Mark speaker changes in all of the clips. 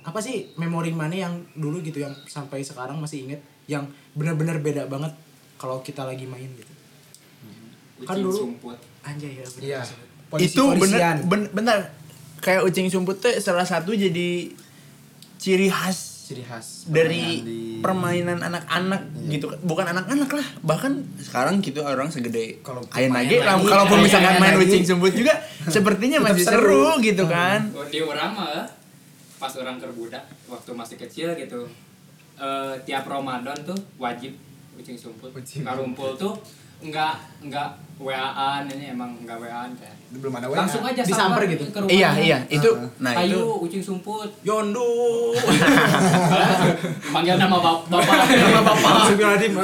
Speaker 1: apa sih memori mana yang dulu gitu yang sampai sekarang masih inget yang benar-benar beda banget kalau kita lagi main gitu Kan
Speaker 2: Ucing
Speaker 1: dulu-
Speaker 2: sumput.
Speaker 1: anjay ya bener
Speaker 3: Iya.
Speaker 1: maksudnya.
Speaker 3: Polisi-
Speaker 4: itu
Speaker 3: polisian.
Speaker 4: bener, ben- bener kayak ucing sumput tuh salah satu jadi ciri khas
Speaker 3: ciri khas
Speaker 4: dari
Speaker 3: di-
Speaker 4: permainan anak-anak
Speaker 3: Iya.
Speaker 4: gitu bukan anak-anak lah bahkan sekarang gitu orang segede
Speaker 3: Kalau
Speaker 4: ayam
Speaker 3: main
Speaker 4: lagi
Speaker 3: lagi,
Speaker 4: kalau
Speaker 3: main
Speaker 4: misalkan
Speaker 3: lagi.
Speaker 4: main ucing sumput juga sepertinya
Speaker 3: Tetap
Speaker 4: masih
Speaker 3: seru.
Speaker 4: seru gitu kan
Speaker 2: Oh, Di orang mah pas orang kerbudak waktu masih kecil gitu. eh, tiap Ramadan tuh wajib kucing sumput.
Speaker 3: Kucing
Speaker 2: Karumpul tuh enggak enggak WA-an ini emang enggak WA-an kan.
Speaker 3: belum ada WA.
Speaker 2: Langsung aja
Speaker 1: Disamper
Speaker 2: samper
Speaker 1: gitu.
Speaker 2: ke rumah.
Speaker 4: iya iya itu
Speaker 3: Uh-uh.
Speaker 4: nah
Speaker 2: Ayo
Speaker 4: itu
Speaker 2: ucing sumput.
Speaker 1: Yondu
Speaker 2: Panggil nama bap- bapak. Nama bapak.
Speaker 1: Astagfirullahaladzim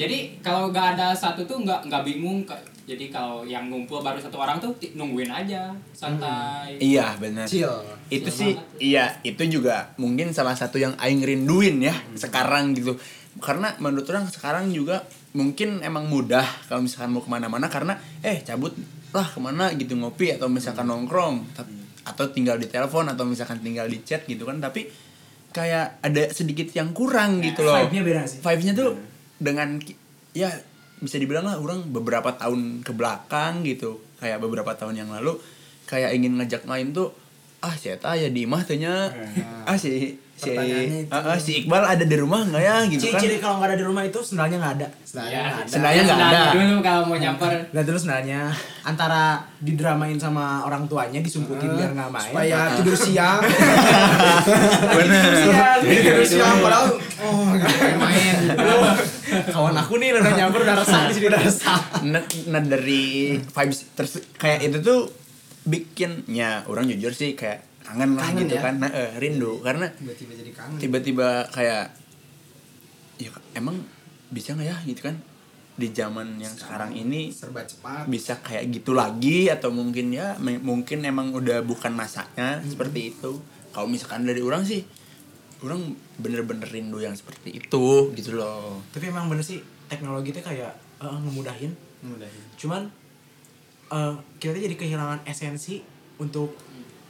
Speaker 2: Jadi kalau nggak ada satu tuh nggak nggak bingung. Ka- Jadi kalau yang ngumpul baru satu orang tuh ti- nungguin aja santai.
Speaker 4: iya benar
Speaker 3: Chill.
Speaker 4: itu
Speaker 2: Iya
Speaker 4: sih
Speaker 2: banget.
Speaker 4: iya itu juga mungkin salah satu yang aing rinduin ya sekarang gitu karena menurut orang sekarang juga mungkin emang mudah kalau misalkan mau kemana-mana karena eh cabut lah kemana gitu ngopi atau misalkan nongkrong Ta- atau tinggal di telepon atau misalkan tinggal di chat gitu kan tapi kayak ada sedikit yang kurang gitu loh
Speaker 1: vibe-nya beda sih.
Speaker 4: vibe-nya tuh dengan ki- ya bisa dibilang lah orang beberapa tahun ke belakang gitu kayak beberapa tahun yang lalu kayak ingin ngajak main tuh ah si Eta ya di imah tanya ah si si
Speaker 3: Iya. Pertanyaannya itu.
Speaker 4: ah, ah, si Iqbal ada di rumah nggak ya gitu kan
Speaker 1: ciri-ciri kalau nggak ada di rumah itu sendalnya nggak ada
Speaker 3: Senada.
Speaker 4: Senaya nggak ada.
Speaker 2: Dulu kalau mau nyamper
Speaker 1: dan terus sendalnya antara didramain sama orang tuanya disumputin biar nggak main
Speaker 3: supaya tidur siang
Speaker 1: Iya,
Speaker 4: gitu.
Speaker 1: Kasihan.
Speaker 3: tidur siang padahal oh gitu.
Speaker 2: main.
Speaker 1: kawan aku nih udah nyamper udah resah di sini udah resah
Speaker 4: nah, nah, dari vibes terse- kayak itu tuh bikinnya orang jujur sih kayak kangen lah
Speaker 3: Kangen
Speaker 4: gitu
Speaker 3: ya?
Speaker 4: kan nah, eh, rindu karena
Speaker 3: tiba-tiba jadi kangen
Speaker 4: tiba-tiba kayak ya emang bisa nggak ya gitu kan di zaman yang sekarang ini
Speaker 3: serba cepat
Speaker 4: bisa kayak gitu lagi atau mungkin ya me- mungkin emang udah bukan masanya
Speaker 3: Hmm.
Speaker 4: seperti itu kalau misalkan dari orang sih orang bener-bener rindu yang seperti itu gitu loh
Speaker 1: tapi emang bener sih teknologi itu kayak eh, ngemudahin
Speaker 3: mudah
Speaker 1: cuman eh, kita tuh jadi kehilangan esensi untuk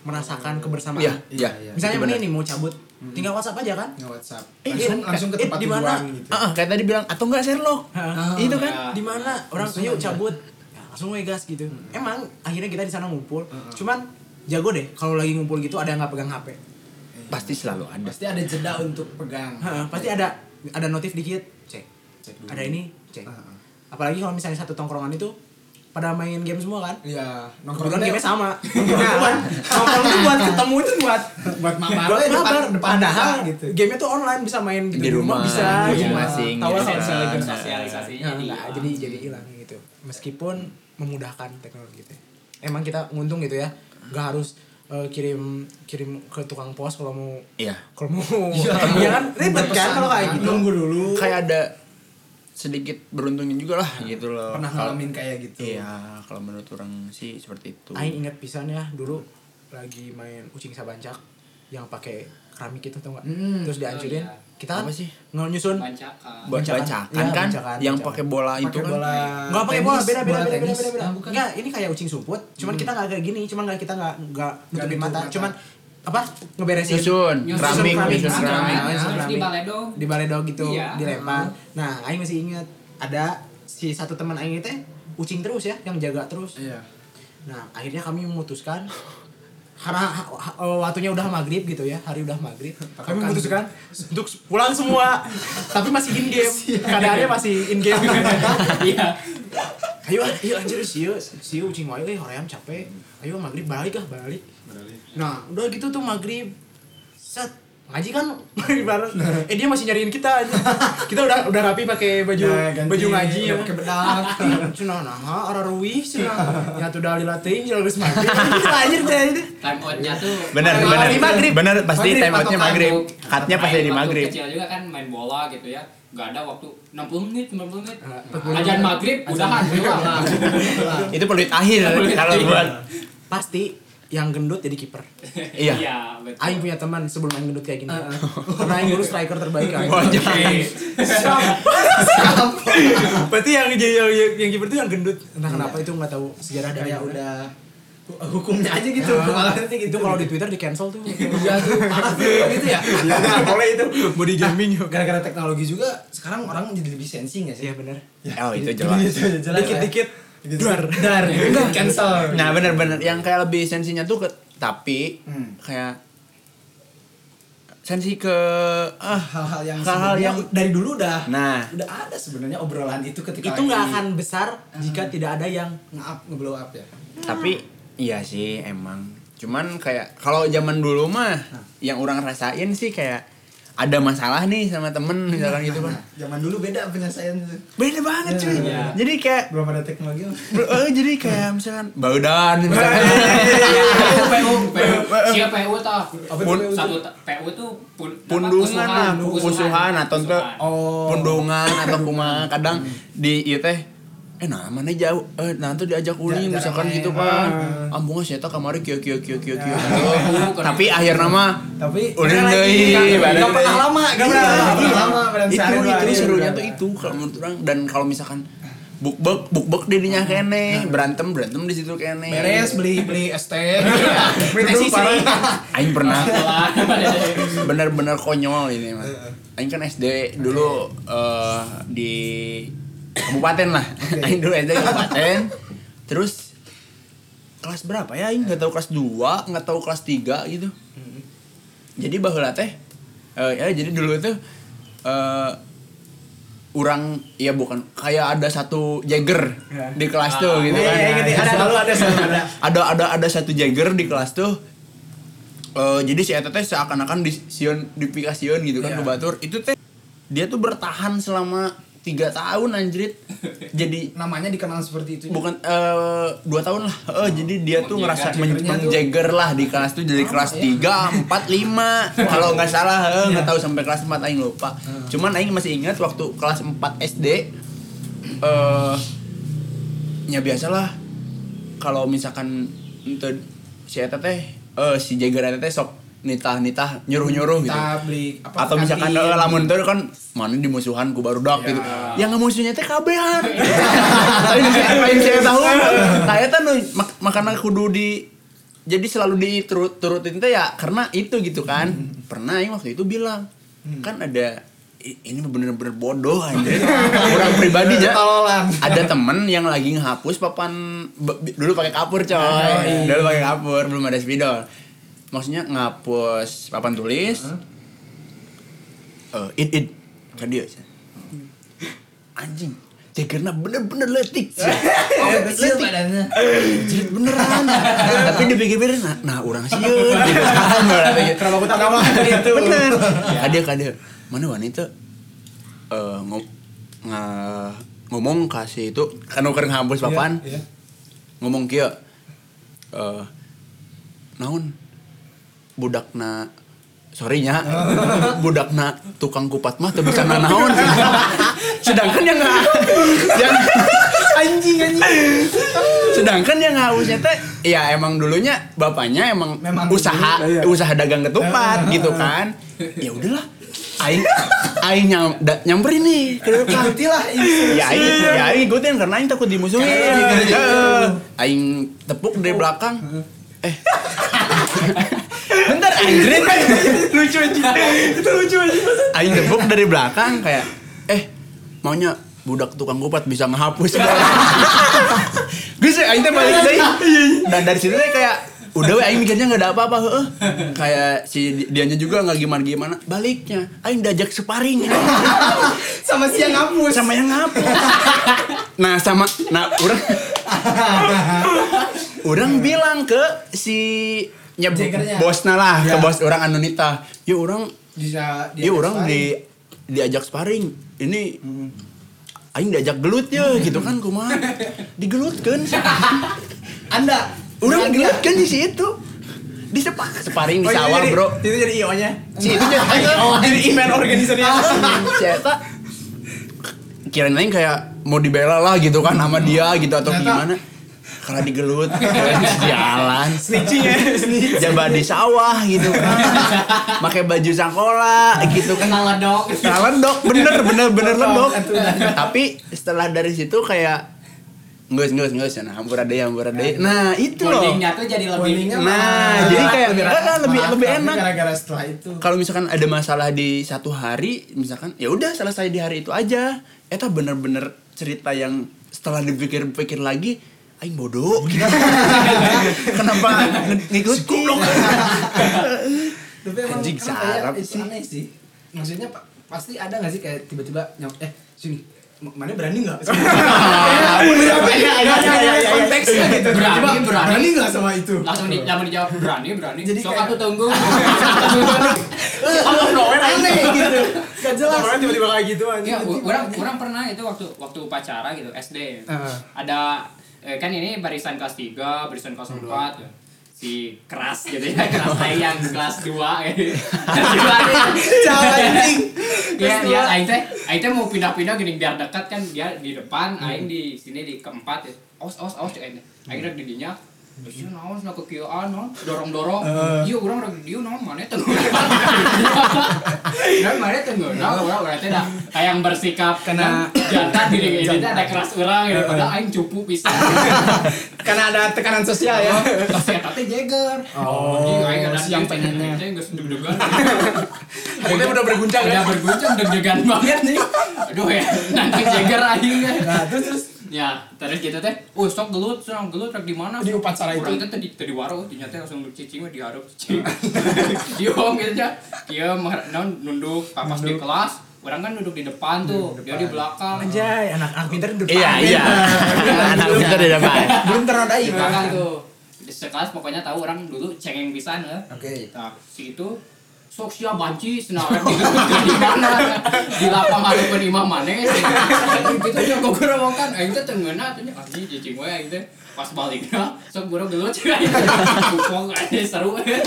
Speaker 1: merasakan kebersamaan
Speaker 4: Iya,
Speaker 3: Iya,
Speaker 4: iya.
Speaker 3: iya.
Speaker 1: misalnya
Speaker 4: itu
Speaker 1: mana
Speaker 4: benar.
Speaker 1: nih mau cabut tinggal WhatsApp aja kan
Speaker 3: nge WhatsApp
Speaker 1: Eh,
Speaker 3: langsung
Speaker 1: eh,
Speaker 3: langsung ke
Speaker 1: eh,
Speaker 3: tempat
Speaker 1: di mana?
Speaker 3: tujuan gitu
Speaker 4: Ah, ah, kayak tadi bilang atau enggak Sherlock
Speaker 1: Hah?
Speaker 2: Iya.
Speaker 4: itu kan
Speaker 1: di mana orang
Speaker 3: Langsung
Speaker 1: yuk
Speaker 3: aja.
Speaker 1: cabut Ya, langsung we gas gitu emang akhirnya kita di sana ngumpul cuman jago deh kalau lagi ngumpul gitu ada yang nggak pegang HP
Speaker 4: pasti selalu ada
Speaker 3: pasti ada jeda untuk pegang
Speaker 1: Heeh, pasti ada ada notif dikit cek
Speaker 3: Cek dulu. Ah,
Speaker 1: ada ini cek
Speaker 3: Heeh.
Speaker 1: apalagi kalau misalnya satu tongkrongan itu pada main game semua kan
Speaker 3: Iya, nongkrong
Speaker 1: Kebetulan
Speaker 3: deh.
Speaker 1: gamenya sama Nongkrong tuh buat Nongkrong tuh buat ketemu tuh buat
Speaker 3: buat mabar
Speaker 1: Buat
Speaker 3: depan
Speaker 1: mabar
Speaker 3: depan
Speaker 1: Padahal
Speaker 3: masa gitu.
Speaker 1: gamenya tuh online Bisa main gitu
Speaker 4: di rumah
Speaker 1: Bisa gitu.
Speaker 4: masing-masing
Speaker 1: Tahu lah
Speaker 4: gitu kan.
Speaker 1: sosial-
Speaker 4: Nah,
Speaker 2: Sosialisasinya
Speaker 1: Nah,
Speaker 2: jadi
Speaker 1: nggak, jadi jadi hilang gitu Meskipun memudahkan teknologi gitu Emang kita nguntung gitu ya Gak harus eh, kirim kirim ke tukang pos kalau mau
Speaker 4: iya
Speaker 1: kalau mau ketemu ya kan ribet kan
Speaker 3: Pesan
Speaker 1: kalau kayak
Speaker 3: kan,
Speaker 1: gitu
Speaker 3: nunggu dulu
Speaker 4: kayak ada sedikit beruntungnya juga lah gitu loh
Speaker 3: pernah
Speaker 4: Kalau-
Speaker 3: ngalamin kayak gitu
Speaker 4: Iya, kalau menurut orang sih seperti itu.
Speaker 1: Aing inget pisan ya dulu lagi main kucing sabancak yang pakai keramik itu tau gak?
Speaker 3: Hmm.
Speaker 1: Terus dihancurin.
Speaker 2: Oh, iya.
Speaker 1: Kita kan
Speaker 4: Apa sih?
Speaker 1: nyusun Bancakan.
Speaker 2: Bancakan.
Speaker 4: Ba- bancakan
Speaker 1: Iya,
Speaker 4: kan
Speaker 1: bancakan, bancakan.
Speaker 4: yang pakai bola itu
Speaker 3: pakai
Speaker 4: kan.
Speaker 3: bola
Speaker 1: Enggak pakai bola,
Speaker 3: tenis,
Speaker 1: beda beda
Speaker 3: bola
Speaker 1: beda beda
Speaker 3: tenis.
Speaker 1: beda beda.
Speaker 3: Ah, bukan.
Speaker 1: Enggak, ini kayak ucing suput, cuman kita nggak kayak gini, cuman nggak kita nggak nggak nutupin
Speaker 3: nutup
Speaker 1: mata,
Speaker 3: mata.
Speaker 1: cuman apa ngeberesin
Speaker 4: Nyusun, keramik,
Speaker 1: nyusun
Speaker 4: nyusun
Speaker 1: keramik,
Speaker 4: keramik.
Speaker 1: nyusun
Speaker 2: Terus di
Speaker 1: keramik.
Speaker 2: Baledong.
Speaker 1: di baledog gitu
Speaker 2: Iya.
Speaker 1: dilempar nah aing masih inget ada si satu teman aing teh ucing terus ya yang jaga terus
Speaker 3: Iya.
Speaker 1: Nah, akhirnya kami memutuskan karena ha- ha- waktunya udah maghrib gitu ya, hari udah maghrib. Kami memutuskan untuk pulang semua, tapi masih in game. Keadaannya masih in game.
Speaker 2: Iya.
Speaker 1: ayo, ayo anjir siu, siu ucing wae euy, hoream capek. Ayo maghrib balik ah, balik. Nah, udah gitu tuh maghrib. Set ngaji kan maghrib bareng. Eh dia masih nyariin kita. anjir. Kita udah udah rapi pakai baju
Speaker 3: Nah, ganti,
Speaker 1: baju ngaji
Speaker 3: udah
Speaker 1: ya.
Speaker 3: pakai bedak.
Speaker 1: Cina nah, arah ruih cina. Ya tuh dari latih, jalan geus maghrib. Anjir teh ini.
Speaker 2: Time out-nya tuh.
Speaker 4: Benar,
Speaker 1: Maghrib,
Speaker 4: benar.
Speaker 1: maghrib.
Speaker 4: Benar, pasti
Speaker 3: Maghrib,
Speaker 4: time out-nya
Speaker 3: patokan.
Speaker 4: maghrib.
Speaker 2: Waktu-
Speaker 4: Cut-nya pasti
Speaker 2: main
Speaker 4: di
Speaker 2: waktu
Speaker 4: maghrib.
Speaker 2: kecil juga kan main bola gitu ya. Gak ada waktu 60 menit, 90 menit.
Speaker 1: betul.
Speaker 2: Ajan maghrib, udahan. pulang.
Speaker 1: Ah.
Speaker 4: Itu peluit akhir
Speaker 2: Peluit
Speaker 4: kalau
Speaker 2: akhir.
Speaker 4: buat
Speaker 1: Pasti yang gendut jadi kiper.
Speaker 4: Iya.
Speaker 2: Iya, betul.
Speaker 1: Aing punya teman sebelum aing gendut kayak gini. Pernah aing dulu striker terbaik aing.
Speaker 4: Wah, jangan.
Speaker 1: Berarti yang jadi yang, yang kiper itu yang gendut. Nah, kenapa itu nggak tahu sejarah dari
Speaker 3: Kayak
Speaker 1: mana.
Speaker 3: Iya. Ya
Speaker 1: Ya.
Speaker 3: udah hukumnya aja gitu
Speaker 1: Ah.
Speaker 3: malah nanti gitu
Speaker 1: itu kalau di Twitter di cancel tuh
Speaker 3: iya tuh parah tuh gitu ya
Speaker 1: boleh itu Iya, body gaming yuk
Speaker 3: gara-gara teknologi juga sekarang orang jadi lebih sensi nggak sih
Speaker 1: iya benar
Speaker 4: Oh itu jelas.
Speaker 1: dikit-dikit Iya.
Speaker 3: dar Gitu. dar cancel
Speaker 4: Nah bener-bener yang kayak lebih sensinya tuh ke- tapi
Speaker 3: Hmm.
Speaker 4: kayak sensi ke ah
Speaker 3: hal-hal yang
Speaker 4: hal-hal
Speaker 3: sebenarnya
Speaker 4: yang
Speaker 3: dari dulu udah
Speaker 4: Nah.
Speaker 3: udah ada sebenarnya obrolan itu Hmm. ketika
Speaker 1: itu nggak akan besar jika tidak ada yang
Speaker 3: nge-up nge-blow up ya
Speaker 4: tapi iya sih emang cuman kayak kalau zaman dulu mah yang orang rasain sih kayak ada masalah nih sama temen misalkan gitu kan
Speaker 3: Nah, zaman dulu beda penyelesaian tuh.
Speaker 4: beda banget cuy
Speaker 2: Iya.
Speaker 4: jadi kayak
Speaker 3: belum ada teknologi
Speaker 4: eh, jadi kayak misalkan baudan misalkan
Speaker 2: PU, PU, siapa PU toh?
Speaker 3: Apa
Speaker 4: Pun-
Speaker 3: itu?
Speaker 2: Satu ta- PU tuh pun, apa, Iya.
Speaker 4: pundungan lah pusuhan atau enggak
Speaker 2: pusuhan.
Speaker 3: Oh. Hmm.
Speaker 4: pundungan atau kumaha kadang di ieu teh eh nah mana jauh eh nah tuh diajak uling
Speaker 3: Jarang
Speaker 4: misalkan
Speaker 3: main.
Speaker 4: gitu kan
Speaker 3: Ah.
Speaker 4: ambungnya saya tak kemarin kio kio kio kio kio
Speaker 2: Oh, bukan.
Speaker 4: tapi akhirnya mah
Speaker 3: tapi
Speaker 4: uling
Speaker 3: Iya. Karena lagi-
Speaker 4: deui
Speaker 3: nggak
Speaker 4: badan
Speaker 3: pernah
Speaker 4: deui.
Speaker 3: lama Iya, nggak
Speaker 1: gitu.
Speaker 4: Iya,
Speaker 3: pernah
Speaker 4: iya.
Speaker 3: lama Iya. badan
Speaker 4: itu
Speaker 3: sehari dua
Speaker 4: itu
Speaker 3: hari
Speaker 4: serunya
Speaker 3: udah.
Speaker 4: tuh itu kalau menurut orang dan kalau misalkan bukbek bukbek dirinya kene berantem berantem di situ kene
Speaker 3: Ah. beres beli beli es teh beli teh
Speaker 4: Dulu
Speaker 3: sisi
Speaker 4: parah. aing pernah
Speaker 2: Setelah.
Speaker 4: bener-bener konyol ini mas Aing kan SD dulu eh, di kabupaten lah Aing dulu SD kabupaten terus kelas berapa ya Aing nggak tahu kelas 2 nggak tahu kelas 3 gitu jadi baheula teh eh, ya jadi dulu itu eh orang ya bukan kayak ada satu jagger di kelas tuh gitu
Speaker 3: Ya. Iya,
Speaker 4: kan
Speaker 3: iya, iya, gitu. Ada, selalu ada, selalu ada.
Speaker 4: ada ada ada satu jagger di kelas tuh Eh, jadi si Eta teh seakan-akan dision dipikasion gitu kan
Speaker 3: Iya.
Speaker 4: ke Batur itu teh dia tuh bertahan selama tiga tahun anjrit jadi
Speaker 3: namanya dikenal seperti itu
Speaker 4: bukan eh, dua tahun lah Eh, jadi dia
Speaker 2: Menjaga
Speaker 4: tuh ngerasa men-
Speaker 3: jaggernya tuh.
Speaker 4: menjagger lah di kelas tuh dari kelas
Speaker 3: ya.
Speaker 4: tiga empat lima kalau nggak salah eh, nggak tahu sampai kelas empat aing lupa cuman aing masih ingat waktu kelas 4 SD eh ya biasalah kalau misalkan untuk si Eta teh eh, si jagger Eta teh sok nitah nitah nyuruh nyuruh gitu
Speaker 3: kita beli apa
Speaker 4: atau misalkan
Speaker 3: kantin.
Speaker 4: eh, lamun teu kan mana dimusuhan ku barudak gitu yang musuhnya teh kabehan lain saya lain saya tahu nah eta nu mak- makana kudu di jadi selalu diturutin teh ya karena itu gitu kan pernah yang waktu itu bilang kan ada i- ini bener-bener bodoh aja orang pribadi ya
Speaker 3: Ketololan.
Speaker 4: ada temen yang lagi ngehapus papan be- bi- dulu pakai kapur coy dulu pakai kapur belum ada spidol maksudnya ngapus papan tulis eh id id kan dia sih.
Speaker 3: Hmm.
Speaker 4: anjing Jagerna bener-bener letik sih.
Speaker 3: Oh, kecil badannya
Speaker 4: Jadi beneran. Tapi dipikir-pikir nah, nah orang sih gitu kan.
Speaker 3: kenapa aku tak tahu itu
Speaker 4: Bener. Kadang kadang mana wanita eh ngom nga- ngomong kasih itu kan nuker ngabus papan
Speaker 3: Iya, iya.
Speaker 4: ngomong kia eh naon budakna sorrynya budakna tukang kupat mah teu bisa naon sedangkan yang nga- yang
Speaker 3: anjing anjing
Speaker 4: sedangkan yang hausnya teh ya emang dulunya bapaknya emang
Speaker 3: Memang
Speaker 4: usaha
Speaker 3: dulu, iya.
Speaker 4: usaha dagang ketupat gitu kan ya udahlah aing aing nyam, da- nyamperin nih ke depan
Speaker 3: ikutilah
Speaker 4: ya aing ya aing ikutin karena aing takut dimusuhin iya. Heeh. aing tepuk dari belakang eh bentar anjrit lucu aja itu lucu aja aing tepuk dari belakang kayak eh maunya budak tukang kupat bisa ngehapus gue sih aing teh balik deui. dan dari situ teh kayak udah we aing mikirnya nggak ada apa-apa heeh kayak si di- dianya juga nggak gimana gimana baliknya aing diajak sparring
Speaker 3: sama si yang ngapus
Speaker 4: sama yang ngapus nah sama nah orang orang bilang ke si nya
Speaker 3: Jaggernya.
Speaker 4: bosna lah ke
Speaker 3: Ya.
Speaker 4: bos orang Anonita ya orang
Speaker 3: bisa
Speaker 4: ya orang
Speaker 3: sparring.
Speaker 4: di diajak sparring ini aing diajak gelut ya gitu kan kumaha digelutkeun
Speaker 3: anda
Speaker 4: orang digelutkeun di situ di sepa, Oh, iya, sparring
Speaker 3: Oh, iya,
Speaker 4: di sawah bro
Speaker 3: itu jadi io nya
Speaker 4: si itu
Speaker 3: iya,
Speaker 4: jadi
Speaker 3: jadi event organisernya
Speaker 4: siapa kirain lain kayak mau dibela lah gitu kan sama dia gitu atau
Speaker 3: Hmm. Ternyata-
Speaker 4: gimana karena digelut jalan
Speaker 3: snitching ya snitching
Speaker 4: jabah di sawah gitu kan pakai baju sangkola gitu kan
Speaker 2: Kenal dong.
Speaker 4: Nah, dok bener bener bener lendok tapi setelah dari situ kayak Nggak, nggak, nggak. Nah, hampur ada ya, hampur ada. Nah, itu loh.
Speaker 2: bondingnya tuh jadi lebih
Speaker 3: Bondingnya
Speaker 4: Nah,
Speaker 3: Ah,
Speaker 4: jadi kayak
Speaker 3: lebih
Speaker 4: lebih,
Speaker 3: rata.
Speaker 4: lebih,
Speaker 3: Maaf,
Speaker 4: lebih
Speaker 3: tapi
Speaker 4: enak.
Speaker 3: gara-gara setelah itu
Speaker 4: Kalau misalkan ada masalah di satu hari, misalkan ya udah selesai di hari itu aja. Eta bener-bener cerita yang setelah dipikir-pikir lagi, aing bodoh. Kenapa nge- ngikutin?
Speaker 3: tapi emang
Speaker 4: Anjing,
Speaker 3: kenapa ya?
Speaker 4: sarap sih.
Speaker 3: itu aneh sih maksudnya pa- pasti ada nggak sih kayak tiba-tiba nyok eh sini M- mana berani nggak
Speaker 1: Iya,
Speaker 3: konteksnya gitu
Speaker 2: Berani,
Speaker 3: Tiba-tiba,
Speaker 2: berani.
Speaker 3: berani nggak sama itu
Speaker 2: langsung di, langsung dijawab berani berani
Speaker 3: Jadi
Speaker 2: sok
Speaker 3: kayak-
Speaker 2: aku tunggu Out of nowhere,
Speaker 3: aneh gitu gak jelas
Speaker 1: Orang tiba-tiba kayak gitu anjing.
Speaker 2: Iya, u- orang orang pernah itu waktu waktu upacara gitu SD.
Speaker 3: Heeh.
Speaker 2: Ada eh, kan ini barisan kelas 3, barisan kelas 4 si keras gitu ya keras aing yang kelas 2 gitu. Kelas 2 Ya, ya aing teh aing teh mau pindah-pindah gini biar dekat kan dia di depan, aing di sini di keempat ya. Aus aus aus aing. teh. Aing rek di dinya. Iya naon sih ke kieu naon dorong-dorong. Iya urang rek di dieu naon mana teh. Dan mana teh ngeunah urang urang teh dah hayang bersikap
Speaker 3: Kena-
Speaker 2: kan jantan gini gini teh ada keras urang gitu. Padahal aing cupu pisan.
Speaker 3: karena ada tekanan sosial ya
Speaker 2: Terus eta teh jeger.
Speaker 3: Oh, Iya.
Speaker 2: Anjing, aing ada
Speaker 3: si
Speaker 2: yang
Speaker 3: yang
Speaker 2: pengen
Speaker 3: pengennya.
Speaker 2: geus deg-degan.
Speaker 4: Ini udah berguncang
Speaker 2: Udah
Speaker 4: ya.
Speaker 2: berguncang deg-degan
Speaker 1: Iya,
Speaker 2: banget nih. Aduh ya, nanti jeger aing.
Speaker 3: nah terus terus
Speaker 2: Ya, terus kita teh, oh sok gelut, sok gelut, sok di mana?
Speaker 3: Di upacara itu.
Speaker 2: Urang teh tadi tadi waro, ternyata langsung cicing mah diharap cicing. Diom gitu ya. Dia mah- naon, nunduk, papas di kelas. Orang kan duduk di depan
Speaker 3: Hmm,
Speaker 2: tuh, dia di belakang.
Speaker 1: Anjay, anak-anak pintar di depan.
Speaker 4: Iya, iya. Anak pintar di depan.
Speaker 3: belum ternodai
Speaker 1: Iya.
Speaker 2: Di belakang tuh. Di sekelas pokoknya tahu orang dulu cengeng pisan ya. Nah, si itu sok sia banci senarep gitu di mana di lapang ada pun imam mana gitu ya kok gue kan aing teh tengeuna tuh nya anjing cicing we aing teh pas balikna sok gue gelut ya. cek aing kupong aja seru iya